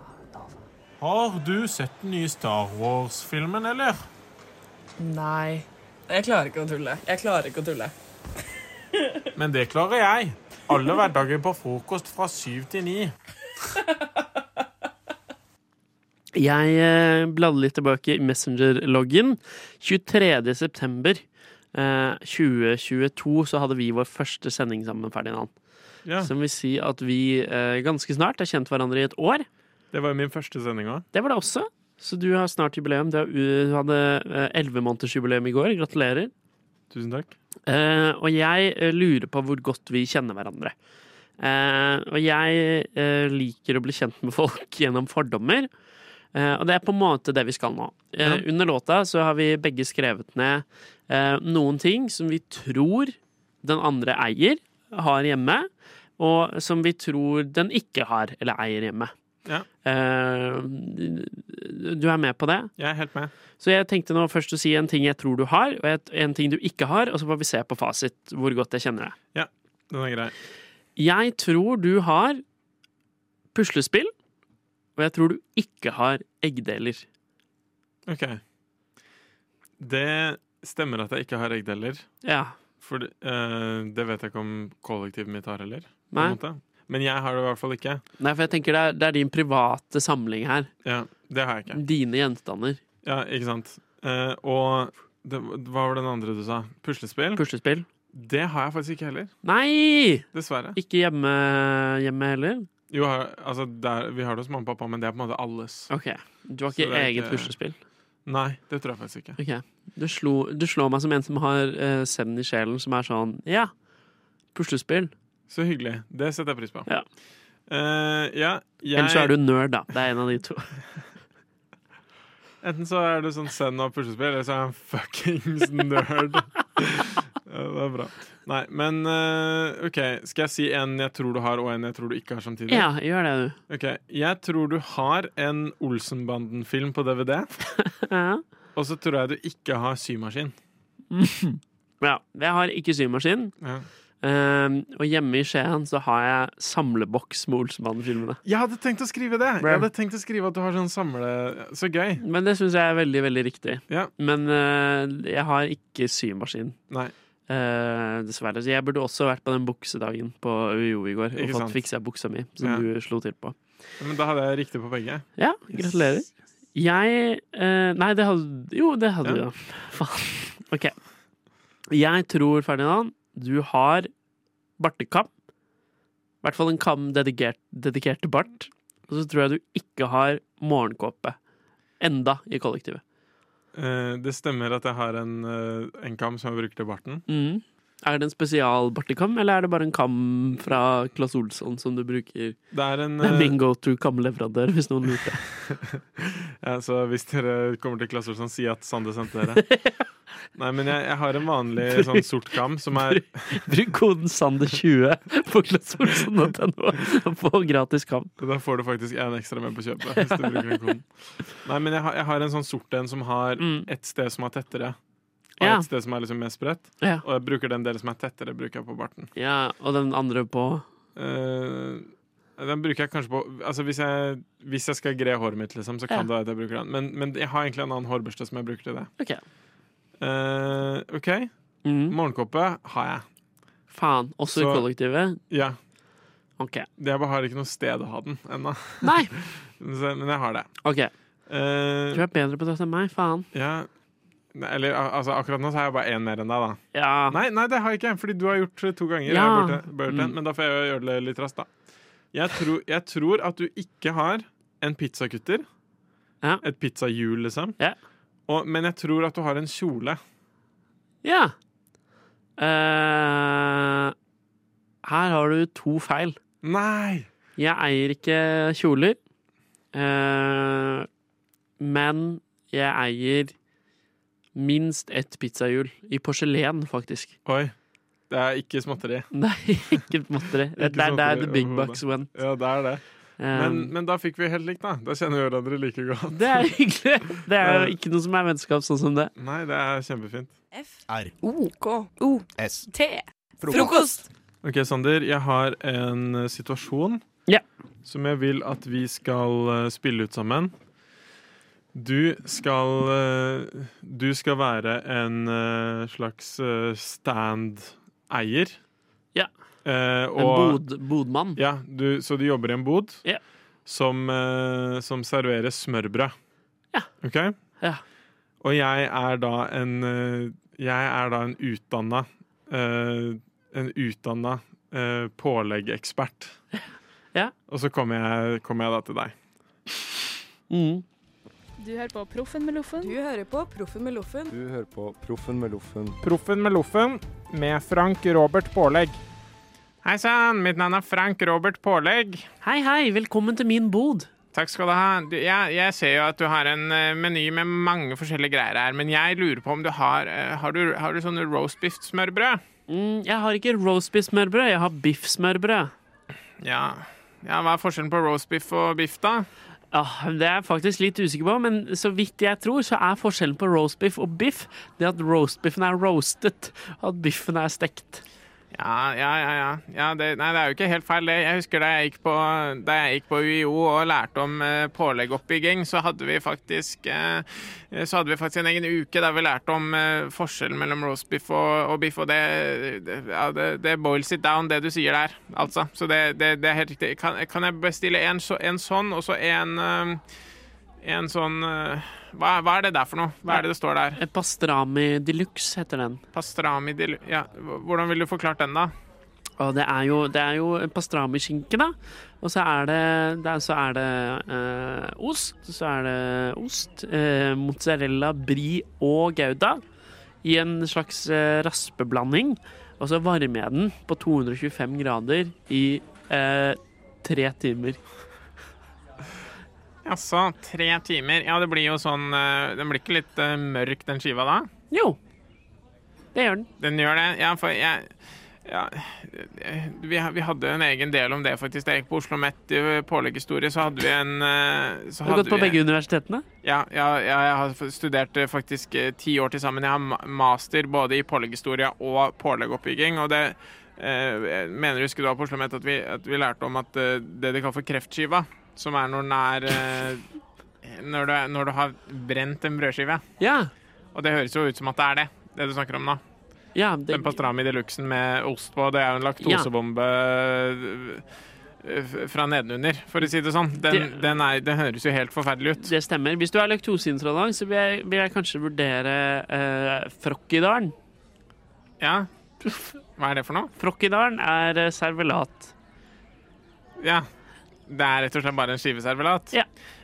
Har du sett den nye Star Wars-filmen, eller?
Nei. Jeg klarer ikke å tulle. Jeg klarer ikke å tulle.
(laughs) Men det klarer jeg. Alle hverdager på frokost fra syv til ni.
Jeg eh, bladde litt tilbake i Messenger-loggen. 23. september eh, 2022 så hadde vi vår første sending sammen, Ferdinand.
Ja,
Som vil si at vi eh, ganske snart har kjent hverandre i et år.
Det var jo min første sending òg.
Det var det også. Så du har snart jubileum. Du har- du hadde eh, ellevemånedersjubileum i går. Gratulerer.
Tusen takk.
Eh, og jeg eh, lurer på hvor godt vi kjenner hverandre. Eh, og jeg eh, liker å bli kjent med folk (laughs) gjennom fordommer. Eh, og det er på en måte det vi skal nå. Eh,
Ja.
Under låta så har vi begge skrevet ned eh, noen ting som vi tror den andre eier, har hjemme, og som vi tror den ikke har eller eier hjemme.
Ja.
Eh, du er med på det?
Jeg er helt med.
Så jeg tenkte nå først å si en ting jeg tror du har, og et- en ting du ikke har, og så får vi se på fasit hvor godt jeg kjenner deg.
Den er grei.
Jeg tror du har puslespill, og jeg tror du ikke har eggdeler.
Ok. Det stemmer at jeg ikke har eggdeler.
Ja,
For eh, det vet jeg ikke om kollektivet mitt har heller. på
Nei.
en måte. Men jeg har det i hvert fall ikke.
Nei, for jeg tenker det er, det er din private samling her.
Ja, det har jeg ikke.
Dine gjenstander.
Ja, ikke sant. Eh, og det, hva var den andre du sa? Puslespill?
Puslespill.
Det har jeg faktisk ikke heller.
Nei!
Dessverre.
Ikke hjemme, hjemme heller?
Jo, har- altså, der, vi har det hos mamma og pappa, men det er på en måte alles.
Ok, Du har
Så det
ikke
er
eget
ikke-
puslespill?
Nei, det tror jeg faktisk ikke.
Ok. Du, slo, du slår meg som en som har eh, søvn i sjelen, som er sånn Ja, puslespill.
Så hyggelig. Det setter jeg pris på.
Ja.
Eh, ja, jeg,
Eller så er du nerd, da. Det er en av de to.
Enten så er du sånn send og puslespill, eller så er jeg en fuckings nerd. (laughs) ja, det er bra. Nei, men eh, OK. Skal jeg si en jeg tror du har, og en jeg tror du ikke har samtidig?
(laughs) Ja, gjør det, du.
Ok, Jeg tror du har en Olsenbanden-film på DVD.
Ja.
Og så tror jeg du ikke har symaskin.
Ja, jeg har ikke symaskin.
Ja.
Ehm, og hjemme i Skien så har jeg samleboks med Olsenbanden-filmene.
Jeg hadde tenkt å skrive det! Jeg hadde tenkt å skrive at du har sånn samle... Så gøy.
Men det syns jeg er veldig, veldig riktig.
Ja.
Men eh, jeg har ikke symaskin.
Nei.
Eh, dessverre. Så jeg burde også vært på den buksedagen på UiO i går
Ikke
og fått
sant.
fiksa buksa mi, som
Ja.
du slo til på.
Men da hadde jeg riktig på begge.
Ja, gratulerer. Jeg eh, Nei, det hadde Jo, det hadde du,
Ja.
da. Faen. OK. Jeg tror, Ferdinand, du har bartekam. I hvert fall en kam dedikert, dedikert til bart. Og så tror jeg du ikke har morgenkåpe. Enda i kollektivet.
Eh, det stemmer at jeg har en, eh, en kam som jeg bruker til barten.
Mm. Er det en spesial bartekam, eller er det bare en kam fra Claes Olsson som du bruker?
Det er en
Det er
eh,
min go to kamleverandør, hvis noen lurte.
(laughs) ja, Så hvis dere kommer til Klasse Olsson, si at Sande sendte dere. Nei, men jeg, jeg har en vanlig sånn sort kam som er
Bruk koden SANDER20 på claesolsson.no og få gratis kam.
Da får du faktisk en ekstra med på kjøpet. Hvis du bruker den koden Nei, men jeg har, jeg har en sånn sort en som har
Mm.
ett sted som er tettere, og
Ja.
ett sted som er liksom mer spredt.
Ja.
Og jeg bruker den delen som er tettere, bruker jeg på barten.
Ja, og den andre på
Eh, den bruker jeg kanskje på Altså Hvis jeg, hvis jeg skal gre håret mitt, liksom, så kan
Ja.
det være at jeg bruker den. Men, men jeg har egentlig en annen hårbørste som jeg bruker til det.
Ok.
Eh, OK.
Mm.
Morgenkoppe har jeg.
Faen, også i
Så-
kollektivet?
Ja.
Ok.
Jeg bare har ikke noe sted å ha den ennå.
Nei.
Så- men jeg har det.
Ok.
Eh,
Du er bedre på dette enn meg, faen.
Ja Nei, Eller al- altså, akkurat nå så har jeg bare én mer enn deg, da.
Ja.
Nei, nei, det har jeg ikke, fordi du har gjort det to ganger.
Ja. Mm.
Jeg har bare- bare gjort en, Men da får jeg gjøre det litt raskt, da. Jeg tror, jeg tror at du ikke har en pizzakutter. Et pizzahjul, liksom. Og, men jeg tror at du har en kjole.
Ja. Eh, her har du to feil.
Nei!
Jeg eier ikke kjoler. eh, men jeg eier minst ett pizzahjul. I porselen, faktisk.
Oi. Det er ikke småtteri.
Nei, ikke
Ikke sånn
småtteri. Det, det, er der
småtteri
the big
overhodet.
bucks went.
Ja, det er det.
Eh,
Men, men da fikk vi helt likt, da. Da kjenner vi hverandre like godt.
Det er hyggelig. Det er jo ikke noe som er vennskap sånn som det.
Nei, det er kjempefint.
R. O. K. O. S. T. Frokost.
Ok, Sander, jeg har en eh, situasjon som jeg vil at vi skal eh, spille ut sammen. Du skal eh, Du skal være en eh, slags eh, stand-eier.
Ja.
Eh,
En
og-
bod, bodmann.
Ja, du, så du jobber i en bod
Ja.
som, eh, som serverer smørbrød.
Ja.
OK?
Ja.
Og jeg er da en eh, Jeg er da en utdanna eh, En utdanna eh, påleggeekspert.
Ja.
Og så kommer jeg, kommer jeg da til deg.
Mm.
Du hører på Proffen med loffen. Du hører på Proffen med loffen.
Du hører på Proffen med loffen.
Proffen med loffen med Frank Robert Pålegg. Hei sann, mitt navn er Frank Robert Pålegg.
Hei, hei. Velkommen til min bod.
Takk skal du ha. Du, jeg, jeg ser jo at du har en eh, meny med mange forskjellige greier her, men jeg lurer på om du har eh, Har du, har du sånne roast beef-smørbrød?
Mm, jeg har ikke roastbeef-smørbrød, jeg har biff-smørbrød.
Ja. ja. Hva er forskjellen på roast beef og biff, da?
Ah, det er jeg faktisk litt usikker på, men så vidt jeg tror, så er forskjellen på roastbiff og biff det at roastbiffen er roastet, og at biffen er stekt.
Ja, ja, ja. ja. ja det, nei, det er jo ikke helt feil, det. Jeg husker da jeg gikk på, da jeg gikk på UiO og lærte om eh, påleggoppbygging, så hadde vi faktisk eh, så hadde vi faktisk en egen uke der vi lærte om eh, forskjellen mellom roastbiff og, og biff, og det, det, ja, det, det boils it down, det du sier der, altså. Så det, det, det er helt riktig. Kan, kan jeg bestille en, så, en sånn, og så en eh, en sånn eh, hva, hva er det der for noe? Hva er det det står der?
Pastrami de luxe heter den.
Pastrami de lu- Ja, hvordan ville du forklart den, da?
Og det er jo, det er jo en pastramiskinke, da. Og så er det, det, er, så er det eh, ost. Så er det ost, eh, mozzarella, brie og gouda i en slags eh, raspeblanding. Og så varmer jeg den på 225 grader i eh, tre timer.
Jaså, tre timer. Ja, det blir jo sånn eh, Den blir ikke litt eh, mørk, den skiva da?
Jo. Det gjør den.
Den gjør det? Ja, for jeg ja, eh, vi, ha- vi hadde en egen del om det, faktisk. Da jeg gikk på Oslo Met i eh, påleggehistorie, så hadde vi en eh, så
Har du
hadde
gått på
vi-
begge universitetene?
Ja, ja, ja, jeg har f- studert eh, faktisk eh, ti år til sammen. Jeg har ma- master både i pålegghistorie og påleggoppbygging. Og det eh, jeg mener jeg husker du var på Oslo Met at, vi- at vi lærte om at eh, det de kaller for kreftskiva, som er når den er eh, når, du, når du har brent en brødskive.
Ja.
Og det høres jo ut som at det er det, det du snakker om nå.
Ja, det-
Den pastrami de luxen med ost på, det er jo en laktosebombe eh, f- fra nedenunder, for å si det sånn. Den,
Det-
den, er, den høres jo helt forferdelig ut.
Det stemmer. Hvis du er laktoseintolerant, så vil jeg, vil jeg kanskje vurdere eh, frokkidalen.
Ja. Hva er det for noe?
Frokkidalen er eh, servelat.
Ja. Det er rett og slett bare en skiveservelat?
Ja.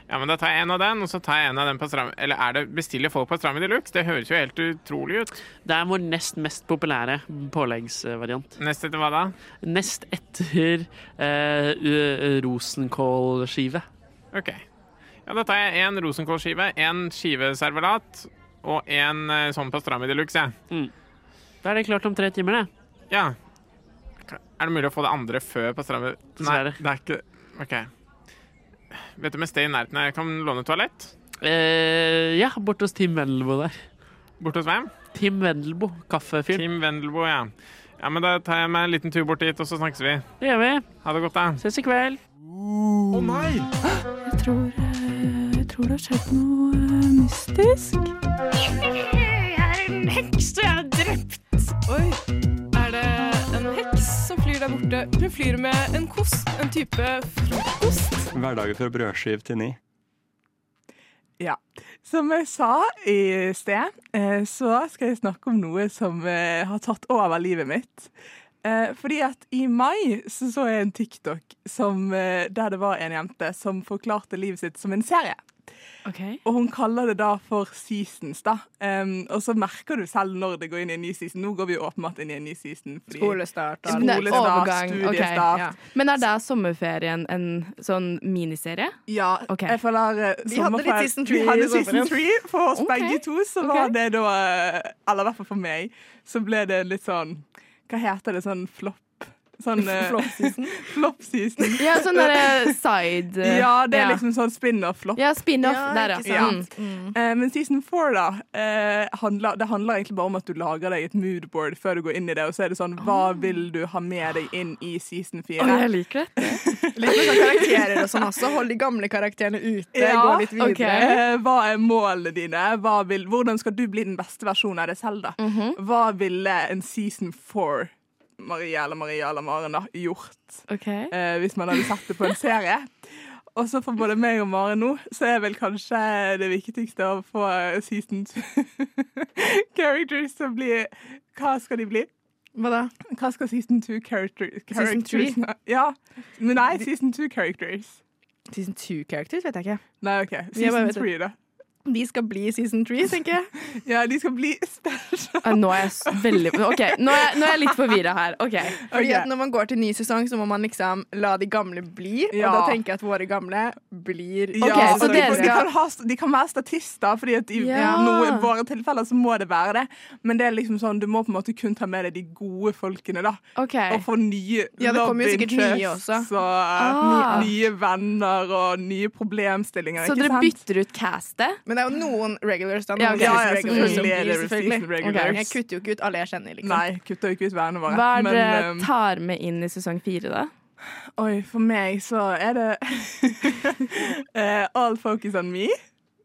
men Da tar jeg en av den, og så tar jeg en av den pastrami Eller er det bestiller folk pastrami de luxe? Det høres jo helt utrolig ut.
Det er vår nest mest populære påleggsvariant.
Nest etter hva da?
Nest etter eh, ø- rosenkålskive.
OK. Ja, da tar jeg en rosenkålskive, en skiveservelat og en eh, sånn pastrami de luxe, jeg.
Da er det klart om tre timer, det.
Ja. Er det mulig å få det andre før pastrami? Nei,
Dessverre.
det er ikke OK. Vet du om et sted i nærheten jeg kan låne toalett?
Eh, ja, borte hos Tim Vendelbo der.
Borte hos hvem?
Tim Vendelbo, kaffefyr.
Tim Vendelbo, ja. Ja, men Da tar jeg meg en liten tur bort dit, og så snakkes vi.
Det gjør vi.
Ha det godt, da.
Ses i kveld.
Å nei!
Jeg tror, jeg tror det har skjedd eh,
Noe mystisk.
Jeg er en heks, og jeg er drept. Oi. Er det en heks som flyr der borte? Hun flyr med en kost, en type frokost.
Hverdager fra brødskive til ni.
Ja. Som jeg sa i sted, eh, så skal jeg snakke om noe som eh, har tatt over livet mitt. Eh, Fordi at i mai så, så jeg en TikTok som, eh, der det var en jente som forklarte livet sitt som en serie. Og hun kaller det da for seasons, da. Em, og så merker du selv når det går inn i en ny season. Nå går vi jo åpenbart inn i en ny season. fordi-
Skolestart.
Skolestart,
Overgang. ok,
studiestart.
ja. Men er da sommerferien en sånn miniserie?
Ja, jeg føler eh,
Vi hadde litt
sommerferie-
season three
Vi hadde
i
season
sommeren.
three for oss
Ok,
begge to. Så var det da eh, Eller i hvert fall for meg, så ble det litt sånn Hva heter det? Sånn flopp? Sånn (laughs) eh,
Flop season?
flopp season.
Ja, sånn derre side eh,
Ja, det er liksom sånn spin-off-flopp.
Ja, spin-off, Ja, der, ja. ikke sant.
Mm.
Eh, men season four, da, eh, handler, det handler egentlig bare om at du lager deg et moodboard før du går inn i det, og så er det sånn Hva vil du ha med deg inn i season fire?
Å, jeg liker
det.
Litt med sånn karakterer og sånn også. Hold de gamle karakterene ute. Gå litt videre.
Eh, Hva er målene dine? Hva vil, hvordan skal du bli den beste versjonen av deg selv? da? Hva ville en season four Maria eller Maria eller Maren da, gjort eh, hvis man hadde sett det på en serie? Og så for både meg og Maren nå, så er vel kanskje det viktigste å få season (laughs) characters til å bli Hva skal de bli? Hva da? Hva skal season two character,
Season
characters
three?
Ja. Men nei, season two characters.
Season two characters vet jeg ikke.
Nei, OK.
Jeg bare
Season
vet
three,
det.
da.
De skal bli season three, tenker jeg.
(laughs) Ja, de skal bli (laughs)
Eh, Nå er jeg s- veldig OK, nå er, jeg- nå er jeg litt forvirra her. Ok. Fordi
Ok.
at Når man går til ny sesong, så må man liksom la de gamle bli.
Ja.
Og da tenker jeg at våre gamle blir
ja,
Ok,
så
Så
de,
dere
de, kan
skal
ha, de kan være statister, Fordi at i
Ja.
noen, våre tilfeller så må det være det. Men det er liksom sånn, du må på en måte kun ta med deg de gode folkene, da. Og få nye
Ja, det kommer jo
love
sikkert nye
interests
også.
Og
Ah.
nye venner og nye problemstillinger.
Så
ikke
dere
sant?
bytter ut castet?
Ja,
Men det er jo noen regulars. Da,
Ja,
noen
ok. Ja, ja,
season regulars
selvfølgelig
som
er
blir
det season
selvfølgelig.
regulars.
Ok, Jeg kutter jo ikke ut alle jeg kjenner. Liksom.
Nei, kutter jo ikke ut vennene våre.
Hva er
men,
det
um,
Tar med inn i sesong fire, da.
Oi, for meg så er
(laughs)
det (laughs) eh, All focus on me.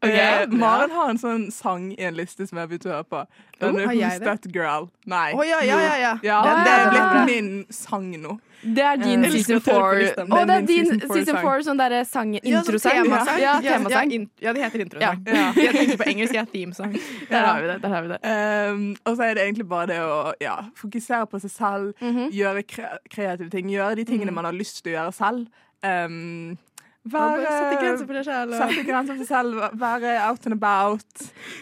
Ok,
Eh,
bra.
Maren har en sånn sang i en liste som jeg begynte å høre på. Den
Oh,
er
har
Who's
jeg det?
That Girl? Nei.
Å, ja, ja, ja, ja. Den-
det er
den-
blitt
den-
min sang nå.
Det er din
Jeg elsker
season
å høre på
four.
listen.
Å, det er
min
din
liksom four
season
sang.
four, sånn derre sang,
Ja, sånn
introsang.
temasang.
Ja,
Ja,
temasang.
ja, in- ja, det heter introsang.
Ja.
Ja. Jeg tenker på engelsk, jeg er themesang.
Der har vi det. der har vi det
Um, og så er det egentlig bare det å ja, fokusere på seg selv,
Mhm.
gjøre kre kreative ting, gjøre de tingene man har lyst til å gjøre selv. Um,
Ja, bare sette grenser for deg selv, og-
Sette grenser for seg selv, være out and about.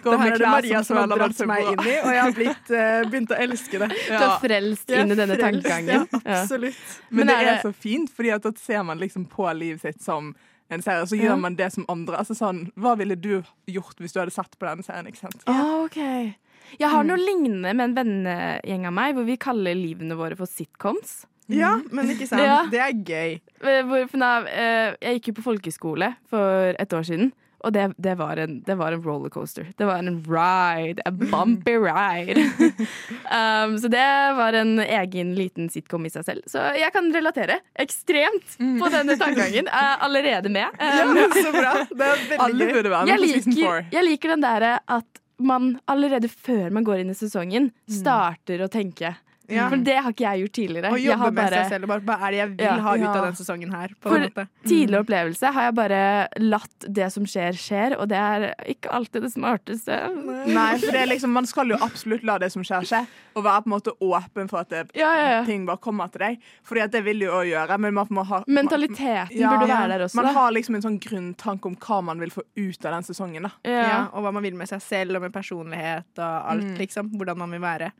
Gå
Det her
med
er det
klær
Maria
som
som har
føler man
dratt
seg
meg
bra.
inn i, og jeg har blitt, eh, begynt å elske det.
Ja.
Du er frelst inn i denne
Frelst,
tankegangen.
Ja,
Ja.
absolutt.
Men
Men, det
er
er,
det-
så fint, fordi at da ser man liksom på livet sitt som en serie, og så
Ja.
gjør man det som andre. Altså sånn, Hva ville du gjort hvis du hadde sett på denne serien? ikke sant?
Ah, ok. Jeg har noe lignende med en vennegjeng av meg, hvor vi kaller livene våre for sitcoms.
Ja, men ikke sant.
Ja.
Det er gøy.
Eh, hvor- for da, eh, Jeg gikk jo på folkeskole for et år siden, og det, det, var, en, det var en rollercoaster. Det var en ride. A bumpy ride. um, så det var en egen liten sitcom i seg selv. Så jeg kan relatere ekstremt på denne tankegangen. Jeg er allerede med. Um,
Ja, så bra. Det er veldig
Alle
gøy.
burde være med
jeg
på season
liker,
four.
jeg liker den derre at man allerede før man går inn i sesongen, starter å tenke.
Mm. Ja.
For det har ikke jeg gjort tidligere.
Å
Jeg
jobbe
har
med
bare-
seg selv og bare hva er det jeg vil
Ja.
ha ut av
Ja.
den sesongen her. På en
For
måte. Mm.
tidligere opplevelse har jeg bare latt det som skjer, skjer, og det er ikke alltid det smarteste.
Nei, for det er liksom, man skal jo absolutt la det som skjer skje, og være på en måte åpen for at det, ting bare kommer til deg. Fordi at det vil jo også gjøre, men man må ha
Mentaliteten burde være der også,
Man
da.
har liksom en sånn grunntanke om hva man vil få ut av den sesongen, da.
Ja. og hva man vil med seg selv og med personlighet og alt,
Mm.
liksom. Hvordan man vil være.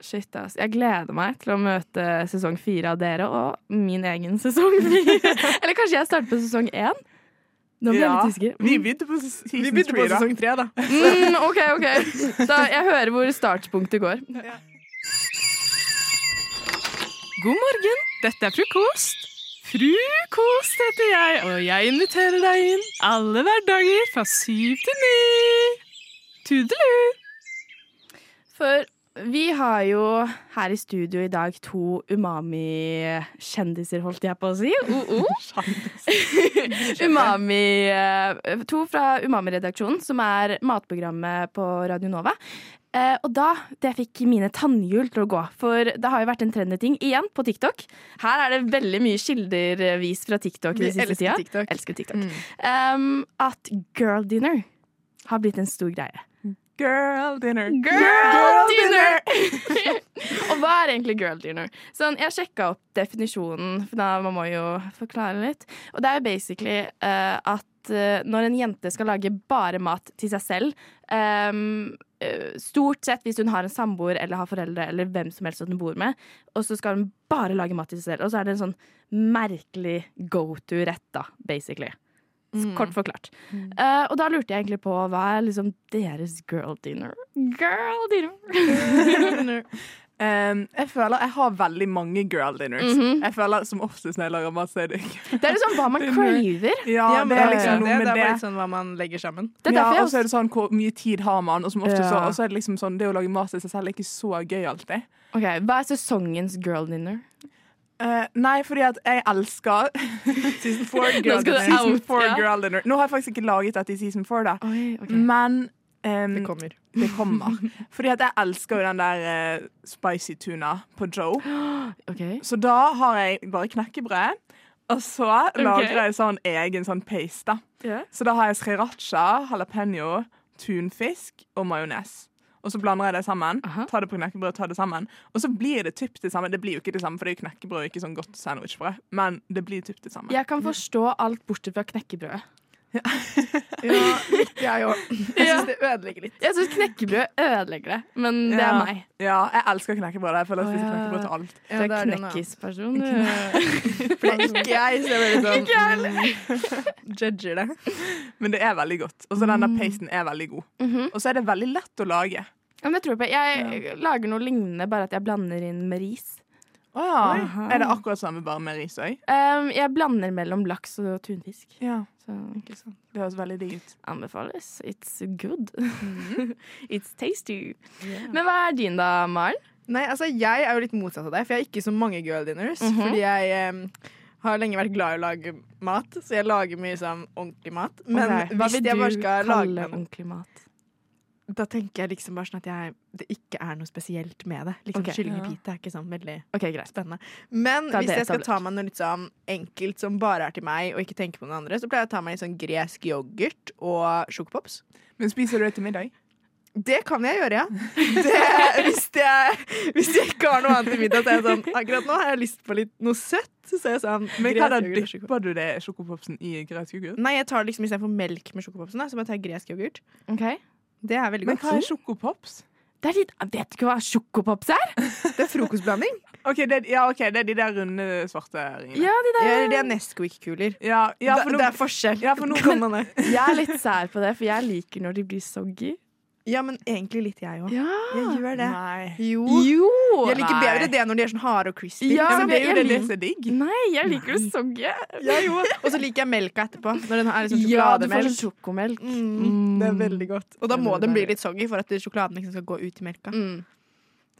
Shit, ass. Jeg gleder meg til å møte sesong fire av dere og min egen sesong fire.
(laughs)
Eller kanskje jeg starter på sesong én? Nå ble jeg
Ja.
litt usikker.
Vi begynte på ses- season
Vi begynte
three,
på
da.
sesong tre, da.
Mm, OK, OK. Da, jeg hører hvor startpunktet går.
God morgen, dette er frokost. Frukost heter jeg, og jeg inviterer deg inn alle hverdager fra syv til ni. Tudelu!
For vi har jo her i studio i dag to umami-kjendiser, holdt jeg på å
(laughs)
si. Oh, oh. umami eh, To fra Umami-redaksjonen, som er matprogrammet på Radio Nova. Eh, og da det fikk mine tannhjul til å gå, for det har jo vært en trendy ting igjen på TikTok. Her er det veldig mye kilder eh, vist fra TikTok
Vi
den siste
elsker
tida.
TikTok.
Elsker TikTok.
Mm.
Um, at girl dinner har blitt en stor greie.
Girl dinner.
Girl, dinner! (laughs)
(laughs)
og hva er egentlig girl dinner? Sånn, jeg sjekka opp definisjonen, for da man må jo forklare litt. Og det er jo basically eh, at eh, når en jente skal lage bare mat til seg selv ehm, eh, Stort sett hvis hun har en samboer eller har foreldre eller hvem som helst hun bor med, og så skal hun bare lage mat til seg selv. Og så er det en sånn merkelig go to-rett, da, basically.
Mm.
Kort forklart. Eh, og da lurte jeg egentlig på hva er liksom deres girl dinner? Girl
dinner. Um, jeg føler jeg har veldig mange girl dinners.
Mhm.
Jeg føler som oftest når jeg lager mat, så er det
Det er liksom hva man craver.
Ja,
Ja, men
det er liksom noe
det,
med
det er bare
det.
litt sånn hva man legger sammen.
ja, og så er det sånn hvor mye tid har man, og som ofte
Ja.
så, og så er det liksom sånn, det å lage mat til seg selv er ikke så gøy alltid.
Ok, Hva er sesongens girl dinner?
Eh, nei, fordi at jeg elsker (laughs) Season 4
Nå
Girl,
skal du
dinner. season
out,
four
ja.
girl Dinner. Nå har jeg faktisk ikke laget dette i Season 4, da. Men det kommer. Det kommer. (laughs) Fordi at jeg elsker jo den der eh, spicy tuna på Joe. Så da har jeg bare knekkebrød, og så lager jeg sånn egen sånn paste. da. Så da har jeg sriracha, jalapeño, tunfisk og majones. Og så blander jeg det sammen. Tar det på knekkebrød, tar det sammen. Og så blir det typ det samme. Det blir jo ikke det samme, for det er jo knekkebrød og ikke sånn godt sandwichbrød. Men det blir typ det samme.
Jeg kan forstå alt bortsett fra knekkebrødet.
Jeg
Ja.
det ødelegger litt.
Jeg syns knekkebrød ødelegger det, men Mm, det er
Ja.
meg.
Ja, jeg elsker knekkebrød. Jeg føler jeg spiser
Å, ja.
knekkebrød til alt.
Du er knekkisperson. du.
(laughs) Ikke jeg, så jeg blir litt sånn
Ikke jeg heller.
Judger det. Men det er veldig godt. Og så den
Mm.
der pasten er veldig god.
Mhm.
Og så er det veldig lett å lage.
Ja, men jeg tror på Jeg lager noe lignende, bare at jeg blander inn med ris.
Å Å ja.
Oi.
Er det akkurat samme, bare med risøy?
Um, jeg blander mellom laks og tunfisk.
Ja.
Så, ikke sant.
Det høres veldig digg ut.
Anbefales. It's good.
Mhm.
(laughs) It's tasty. Men hva er din, da, Maren?
Nei, altså Jeg er jo litt motsatt av deg, for jeg har ikke så mange girl dinners.
Mhm.
Fordi jeg em, har lenge vært glad i å lage mat, så jeg lager mye sånn ordentlig mat. Men
Ok, hva
hvis
vil
jeg
du
bare skal
kalle
lage
ordentlig mat?
Da tenker jeg liksom bare sånn at jeg, det ikke er noe spesielt med det. Liksom
Ok.
Kylling i
Ja.
pite er ikke sånn veldig
Ok, greit.
spennende. Men
Da er
hvis
det
jeg skal
etablert.
ta meg noe litt sånn enkelt som bare er til meg, og ikke tenke på noen andre, så pleier jeg å ta meg litt sånn gresk yoghurt og sjokopops.
Men spiser du det til middag?
Det kan jeg gjøre, ja. Det, (laughs) hvis, jeg, hvis jeg ikke har noe annet til middag, så er jeg sånn Akkurat nå har jeg lyst på litt noe søtt. Så er jeg sånn
Men hva da
gresk yoghurt og sjokopops.
dypper du det sjokopopsen i gresk yoghurt?
Nei, jeg tar det liksom istedenfor melk med sjokopopsen, da, så bare tar jeg gresk yoghurt. Det er veldig
Men
godt.
hva er sjokopops?
Det er litt, vet du ikke hva sjokopops er?
Det er frokostblanding.
Ok, det, ja, ok, det er de der runde, svarte ringene.
Ja, de der-
det er Nesquik-kuler.
Ja, ja,
Det-
for nå-
det er forskjell.
Ja, for
(laughs)
nå
Kan man det?
Jeg er litt sær på det, for jeg liker når de blir soggy.
Ja, men egentlig litt jeg òg. Jeg gjør det.
Nei.
Jo.
Jo,
Jeg liker
nei.
bedre det når de er sånn harde og crispy.
Ja,
liksom.
men det er jo det
jeg
som er
digg.
Nei, jeg liker det soggy.
Ja, jo. Og så liker jeg melka etterpå. Når den er liksom
Ja, du får
sjokolademelk.
sånn sjokomelk.
Mm, det er veldig godt. Og da
Det er
må
veldig
den bli
deilig.
litt soggy for at sjokoladen liksom skal gå ut i melka.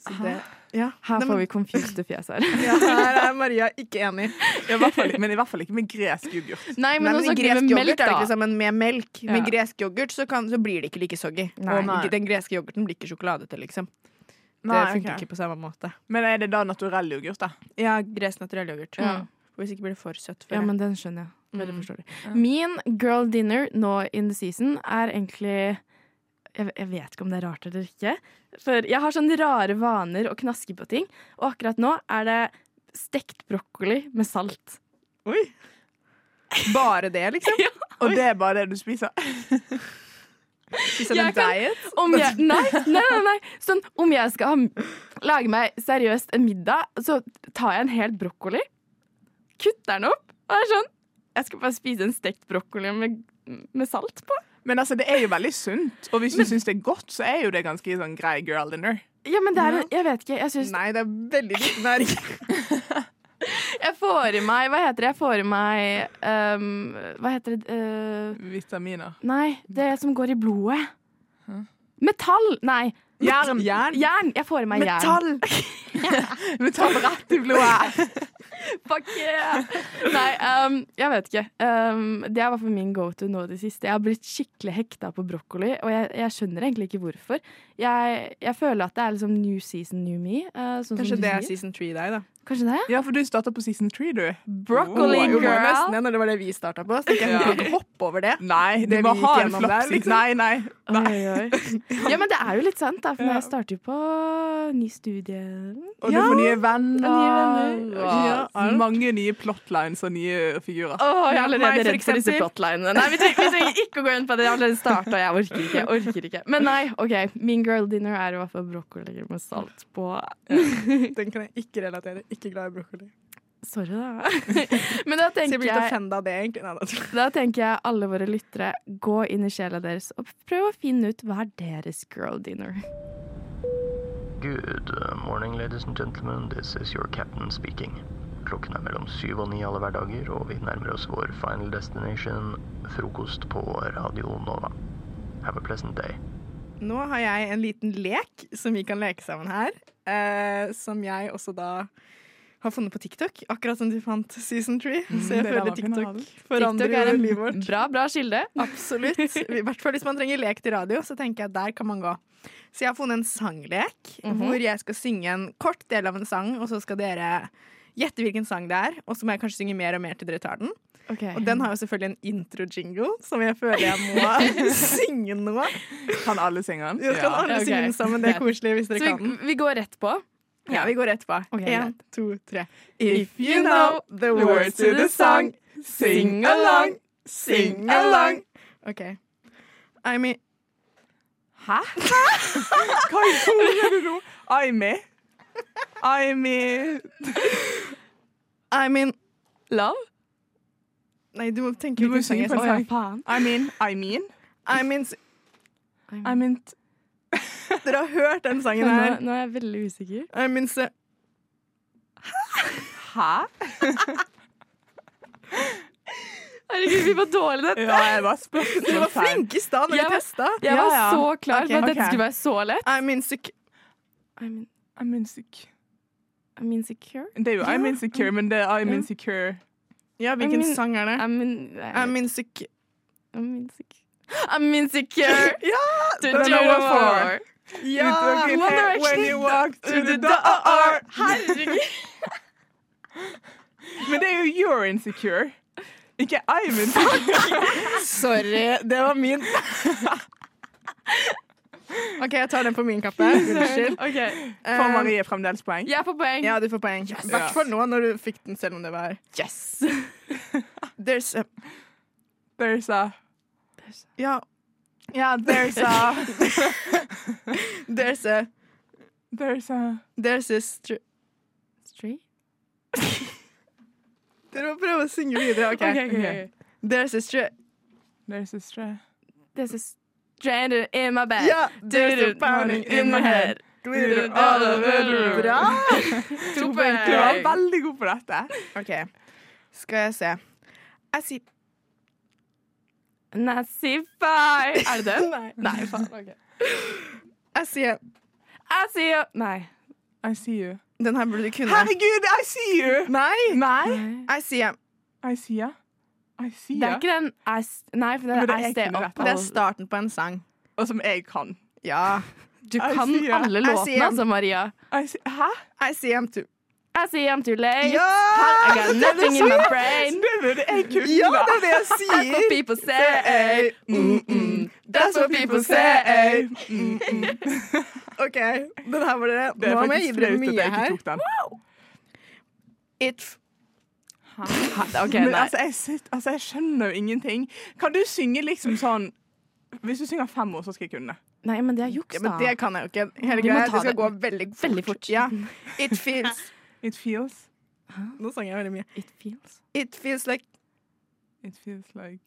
Så det, ja.
Her
Nei,
får
men-
vi confused fjes (laughs) her.
ja, her er Maria ikke enig.
I hvert fall, men i hvert fall ikke med gresk yoghurt.
Nei,
Nei,
men nå
men i
snakker vi
gresk
med
yoghurt
melk,
er det
da.
ikke det samme, men med melk.
Ja.
Med gresk yoghurt så, kan, så blir det ikke like soggy.
Nei.
Og den greske yoghurten blir ikke sjokoladete, liksom. det
Nei,
funker
ok.
ikke på samme måte.
Men er det da naturell yoghurt, da?
Ja, gresk naturell yoghurt.
Ja.
Mm. Hvis ikke blir det for søtt.
Ja, men den skjønner jeg. Veldig
Mm.
forståelig.
Ja.
Min girl dinner nå in the season er egentlig jeg, jeg vet ikke om det er rart eller ikke. For jeg har sånne rare vaner og knasker på ting. Og akkurat nå er det stekt brokkoli med salt.
Oi!
Bare det, liksom?
(laughs)
Og det er bare det du spiser?
Jeg kan- Om jeg,
(laughs)
nei, nei, nei, nei. Sånn, om jeg skal ha, lage meg seriøst en middag, så tar jeg en hel brokkoli, kutter den opp, og er sånn Jeg skal bare spise en stekt brokkoli med, med salt på.
Men altså, det er jo veldig sunt. Og hvis du syns det er godt, så er jo det ganske sånn grei girl dinner.
Ja, men det er, jeg vet ikke. Jeg syns
Nei, det er veldig
(laughs)
liten næring.
Jeg får i meg Hva heter det? Jeg får i meg ehm, Hva heter det? Eh,
Vitaminer.
nei, det som går i blodet. Metall! Nei.
Jern.
Jern. Jeg får i meg jern. (laughs)
Metall rett i blodet.
Fuck yeah! Nei, ehm, jeg vet ikke. Ehm, det er i hvert fall min go to nå i det siste. Jeg har blitt skikkelig hekta på brokkoli, og jeg, jeg skjønner egentlig ikke hvorfor. Jeg, jeg føler at det er liksom new season, new me. eh, sånn
Kanskje
som du
det er
sier.
season three deg, da.
Kanskje det?
Ja, for du starta på season three, du.
Broccoli
Jo, jo,
girl.
nesten det, når det var det vi starta på. Så tenker jeg, vi kan ikke hoppe over det.
Nei,
Det
du må
vi gikk
ha en
gjennom der,
flaks.
liksom.
Nei, nei.
Oi,
(laughs)
oi. Ja, men det er jo litt sant, da. For når jeg starter jo på ny studie
Og du får nye venner.
Nye venner.
og
Ja, alt.
mange nye plotlines og nye figurer.
Å, jeg er allerede
Meg,
redd for disse
eksempel.
plotlinene. Nei, vi trenger, vi trenger ikke å gå inn på det. Jeg har allerede starta, og jeg orker ikke. Jeg orker ikke. Men nei, OK. Min girl dinner er i hvert fall brokkoli med salt på.
(laughs) Den kan jeg ikke relatere. Ikke glad i brokkoli.
Sorry, da. (laughs) Men
Så
da
jeg
tenker
blir litt
jeg
offenda av det, egentlig. Nei, da.
da tenker jeg alle våre lyttere, gå inn i sjela deres og prøv å finne ut hva er deres girl dinner.
Good uh, morning, ladies and gentlemen. This is your captain speaking. Klokken er mellom syv og ni alle hverdager, og vi nærmer oss vår final destination, frokost på Radio Nova. Have a pleasant day.
Nå har jeg en liten lek som vi kan leke sammen her. Eh, som jeg også da har funnet på TikTok, akkurat som de fant Season 3.
Mm,
Så jeg
det der var
føler
ikke noe
TikTok
annet.
forandrer
TikTok er en
livet vårt.
Bra, bra kilde.
Absolutt. I hvert fall hvis man trenger lek til radio, så tenker jeg der kan man gå. Så jeg har funnet en sanglek
Mhm.
hvor jeg skal synge en kort del av en sang, og så skal dere gjette hvilken sang det er, og så må jeg kanskje synge mer og mer til dere tar den. Og den har jo selvfølgelig en intro-jingle, som jeg føler jeg må synge nå.
Kan alle synge den?
Ja, kan alle
Ok.
synge den sammen? Det er koselig hvis dere
Så
kan
vi,
den.
vi går rett på?
Ja, vi går rett på.
Ok,
En,
greit.
to, tre.
If you know the words to the song, sing along,
sing along. OK. I'm i-
Hæ? (laughs) Hva i hodet er det nå? I'm i. I'm i
I'm in
Love?
Nei, du må tenke
Du må
hvilken sang
synge
jeg
på en
skal
sang. I mean, I mean.
I mean s-
I mean
Dere har hørt den sangen
Nå,
her.
nå er jeg veldig usikker.
I mean s-
Hæ?
Herregud, vi var dårlige i dette.
Ja, jeg var spørsmål.
(laughs) Dere var flinke i stad når
sånn Jeg
vi
var-
testa.
jeg var så klar for at dette skulle være
så lett. I'm insecure.
I'm,
I'm insecure.
I'm insecure?
Det er jo I'm insecure, men det er I'm insecure.
Ja, hvilken sang er det?
I'm, in,
I'm insecure.
I'm insecure. I'm insecure.
ja!
Du,
den er
du,
One
du,
Four.
Ja,
Uttrykken
One
er
Direction.
When you walk to the door.
Herregud.
Men det er jo you're insecure. Ikke I'm insecure.
(laughs) Sorry, det var min. OK, jeg tar den på min
(laughs)
kappe. Unnskyld.
(laughs) Ok.
Får Marie fremdeles poeng?
Jeg får poeng.
Ja, du får poeng. I hvert fall nå når du fikk den, selv om det var Yes! (laughs) There's a
There's a
Ja. Ja, there's a (laughs) There's a
There's a
There's a str...
Street?
(laughs) Dere må prøve å synge videre. OK.
Ok, ok, ok.
There's a str...
There's a str...
This is stranded in my bed.
Ja,
There's a pounding in my head. Glitter all over the room.
Bra!
(laughs) To
Du var
poeng.
veldig god på dette.
OK, skal jeg se. Jeg sier
Nazify. Er det den?
(laughs) Nei.
Nei, faen. ok.
Jeg sier
Jeg sier Nei.
I see you.
Den her burde du kunne.
Herregud, I see you!
Nei!
Nei.
I see you.
I see ya. I see
Det er
ya.
ikke den I s- Nei, for
Men
det
det
er
er
I stay
ikke
up.
rett. Det er
starten på en sang.
Og som jeg kan.
Ja. Du
kan alle låtene, altså, Maria.
Hæ?
I see I'm too
I see I'm too late.
Ja!
I got
Det er
nothing
det
in my
som-
brain.
Det er det jeg kunne.
Ja, det er det jeg sier.
That's what people say. Mm-mm. That's what people say.
OK, den her var det.
Det er
Nå må jeg
faktisk
gi dere
flaut at
mye
jeg ikke
her.
tok den.
It
OK,
Men
nei.
altså jeg, sitter, altså, jeg skjønner jo ingenting. Kan du synge liksom sånn Hvis du synger fem år, så skal jeg kunne.
Nei, men det er juks,
Ja,
da.
men det kan jeg jo ikke. Hele
Du må
greia,
ta
det
det
skal gå veldig fort.
veldig fort.
Ja. It feels
(laughs) It feels
Nå sang jeg veldig mye.
It feels
It feels like
It feels like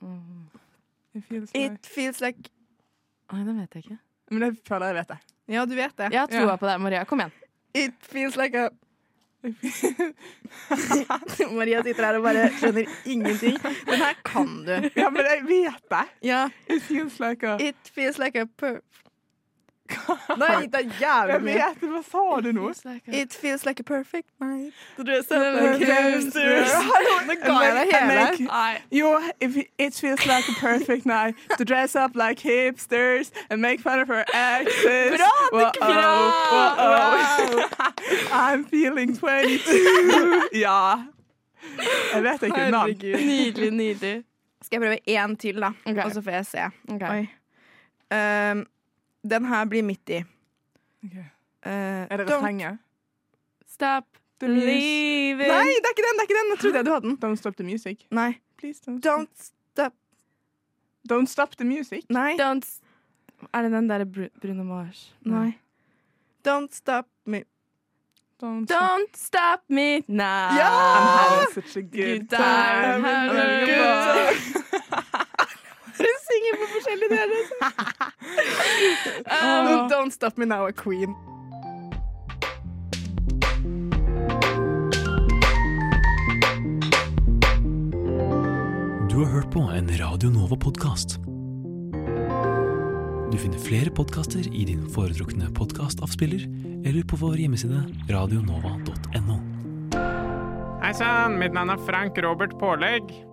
Mm.
It feels like
It feels like
Nei, det vet jeg ikke.
Men jeg føler jeg vet det.
Ja, du vet det.
Jeg har troa på deg, Maria. Kom igjen.
It feels like a (laughs) Maria sitter her og bare skjønner ingenting. Den her kan du.
Ja, men jeg vet det.
Ja.
It feels like a
It feels like a perp. Nå har jeg gitt deg jævlig
Jeg
mye.
vet det, hva sa du nå?
It feels like a perfect night. Hallo, nå ga jeg deg hele.
Like, you, if it feels like a perfect night to dress up like hipsters and make fun of her exes.
Bra, det gikk
Wow,
bra.
wow. I'm feeling 22. ja. Jeg vet ikke navn.
Nydelig, nydelig.
Skal jeg prøve én til, da? Og så får jeg se. Oi. Um, den her blir midt i. Uh,
Er det refrenget?
Stop
The muse.
believing.
Nei, det er ikke den! det er ikke den Jeg trodde jeg du hadde den.
Don't stop the music.
Nei.
Please don't.
Don't stop
Don't stop the music.
Nei.
Don't s- Er det den derre Bru- Bruno Mars?
Nei. Don't stop me.
Don't
Don't stop me now.
Ja!
I'm having such a
Good
good
time.
time.
Have a
Good
good
time.
Dere synger på forskjellige deler. altså.
(laughs) Ah.
Um,
Don't stop me now, a queen.
Du har hørt på en Radio Nova-podkast. Du finner flere podkaster i din foretrukne podkastavspiller eller på vår hjemmeside radionova.no.
Hei sann, mitt navn er Frank Robert Pålegg.